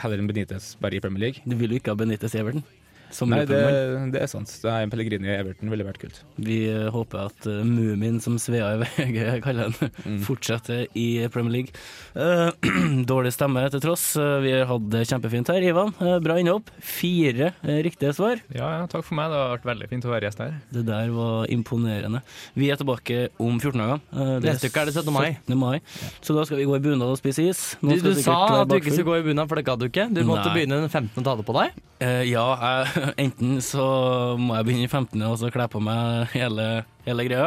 [SPEAKER 7] heller enn Benitez bare i Premier League.
[SPEAKER 5] Du vil jo ikke ha Benitez i Everton. Som
[SPEAKER 7] Nei, det,
[SPEAKER 5] Liverpool-mann.
[SPEAKER 7] det er sant. Det er en Pellegrini i Everton ville vært kult.
[SPEAKER 5] Vi eh, håper at eh, Mumin, som Svea i VG kaller han, fortsetter i Premier League. Eh, dårlig stemme til tross. Eh, vi har hatt det kjempefint her. Ivan, eh, bra innhopp. Fire eh, riktige svar.
[SPEAKER 8] Ja, ja, takk for meg. Det har vært veldig fint å være gjest her.
[SPEAKER 5] Det der var imponerende. Vi er tilbake om 14 dager. Eh,
[SPEAKER 9] Neste uke er det 17. mai.
[SPEAKER 5] 17. mai. Så da skal vi gå i bunad og spise is.
[SPEAKER 9] Du,
[SPEAKER 5] Noen skal
[SPEAKER 9] du
[SPEAKER 5] sikkert
[SPEAKER 9] sa
[SPEAKER 5] være
[SPEAKER 9] at du ikke
[SPEAKER 5] bakfull.
[SPEAKER 9] skulle gå i bunad, for det gadd du ikke. Du måtte
[SPEAKER 5] Nei.
[SPEAKER 9] begynne den 15. og ta det på deg.
[SPEAKER 5] Eh, ja, jeg, enten så må jeg begynne i 15. og så kle på meg hele, hele greia.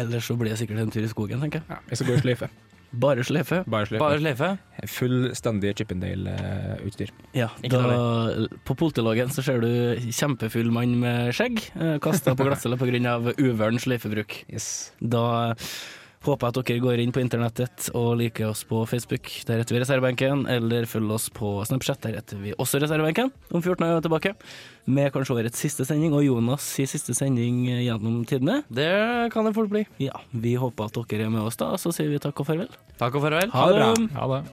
[SPEAKER 5] Eller så blir det sikkert en tur i skogen, tenker jeg.
[SPEAKER 7] Ja, jeg skal gå i sløyfe.
[SPEAKER 5] Bare slefe.
[SPEAKER 7] Bare sløyfe.
[SPEAKER 9] Bare sløyfe.
[SPEAKER 7] Fullstendig eh, Chippendale-utstyr.
[SPEAKER 5] Ja,
[SPEAKER 9] Ikke
[SPEAKER 5] da, på Politelagen så ser du kjempefull mann med skjegg kasta på glattcelle pga. uvøren sløyfebruk.
[SPEAKER 7] Yes.
[SPEAKER 5] Da håper jeg at dere går inn på internettet og liker oss på Facebook, der heter vi Reservebenken, eller følg oss på Snapchat, der heter vi også Reservebenken, om 14 år tilbake, med kanskje årets siste sending, og Jonas' i siste sending eh, gjennom tidene.
[SPEAKER 9] Det kan det fort bli.
[SPEAKER 5] Ja, vi håper at dere er med oss da, så sier vi takk og farvel.
[SPEAKER 9] Takk og farvel.
[SPEAKER 5] Ha det bra.
[SPEAKER 8] Ha det.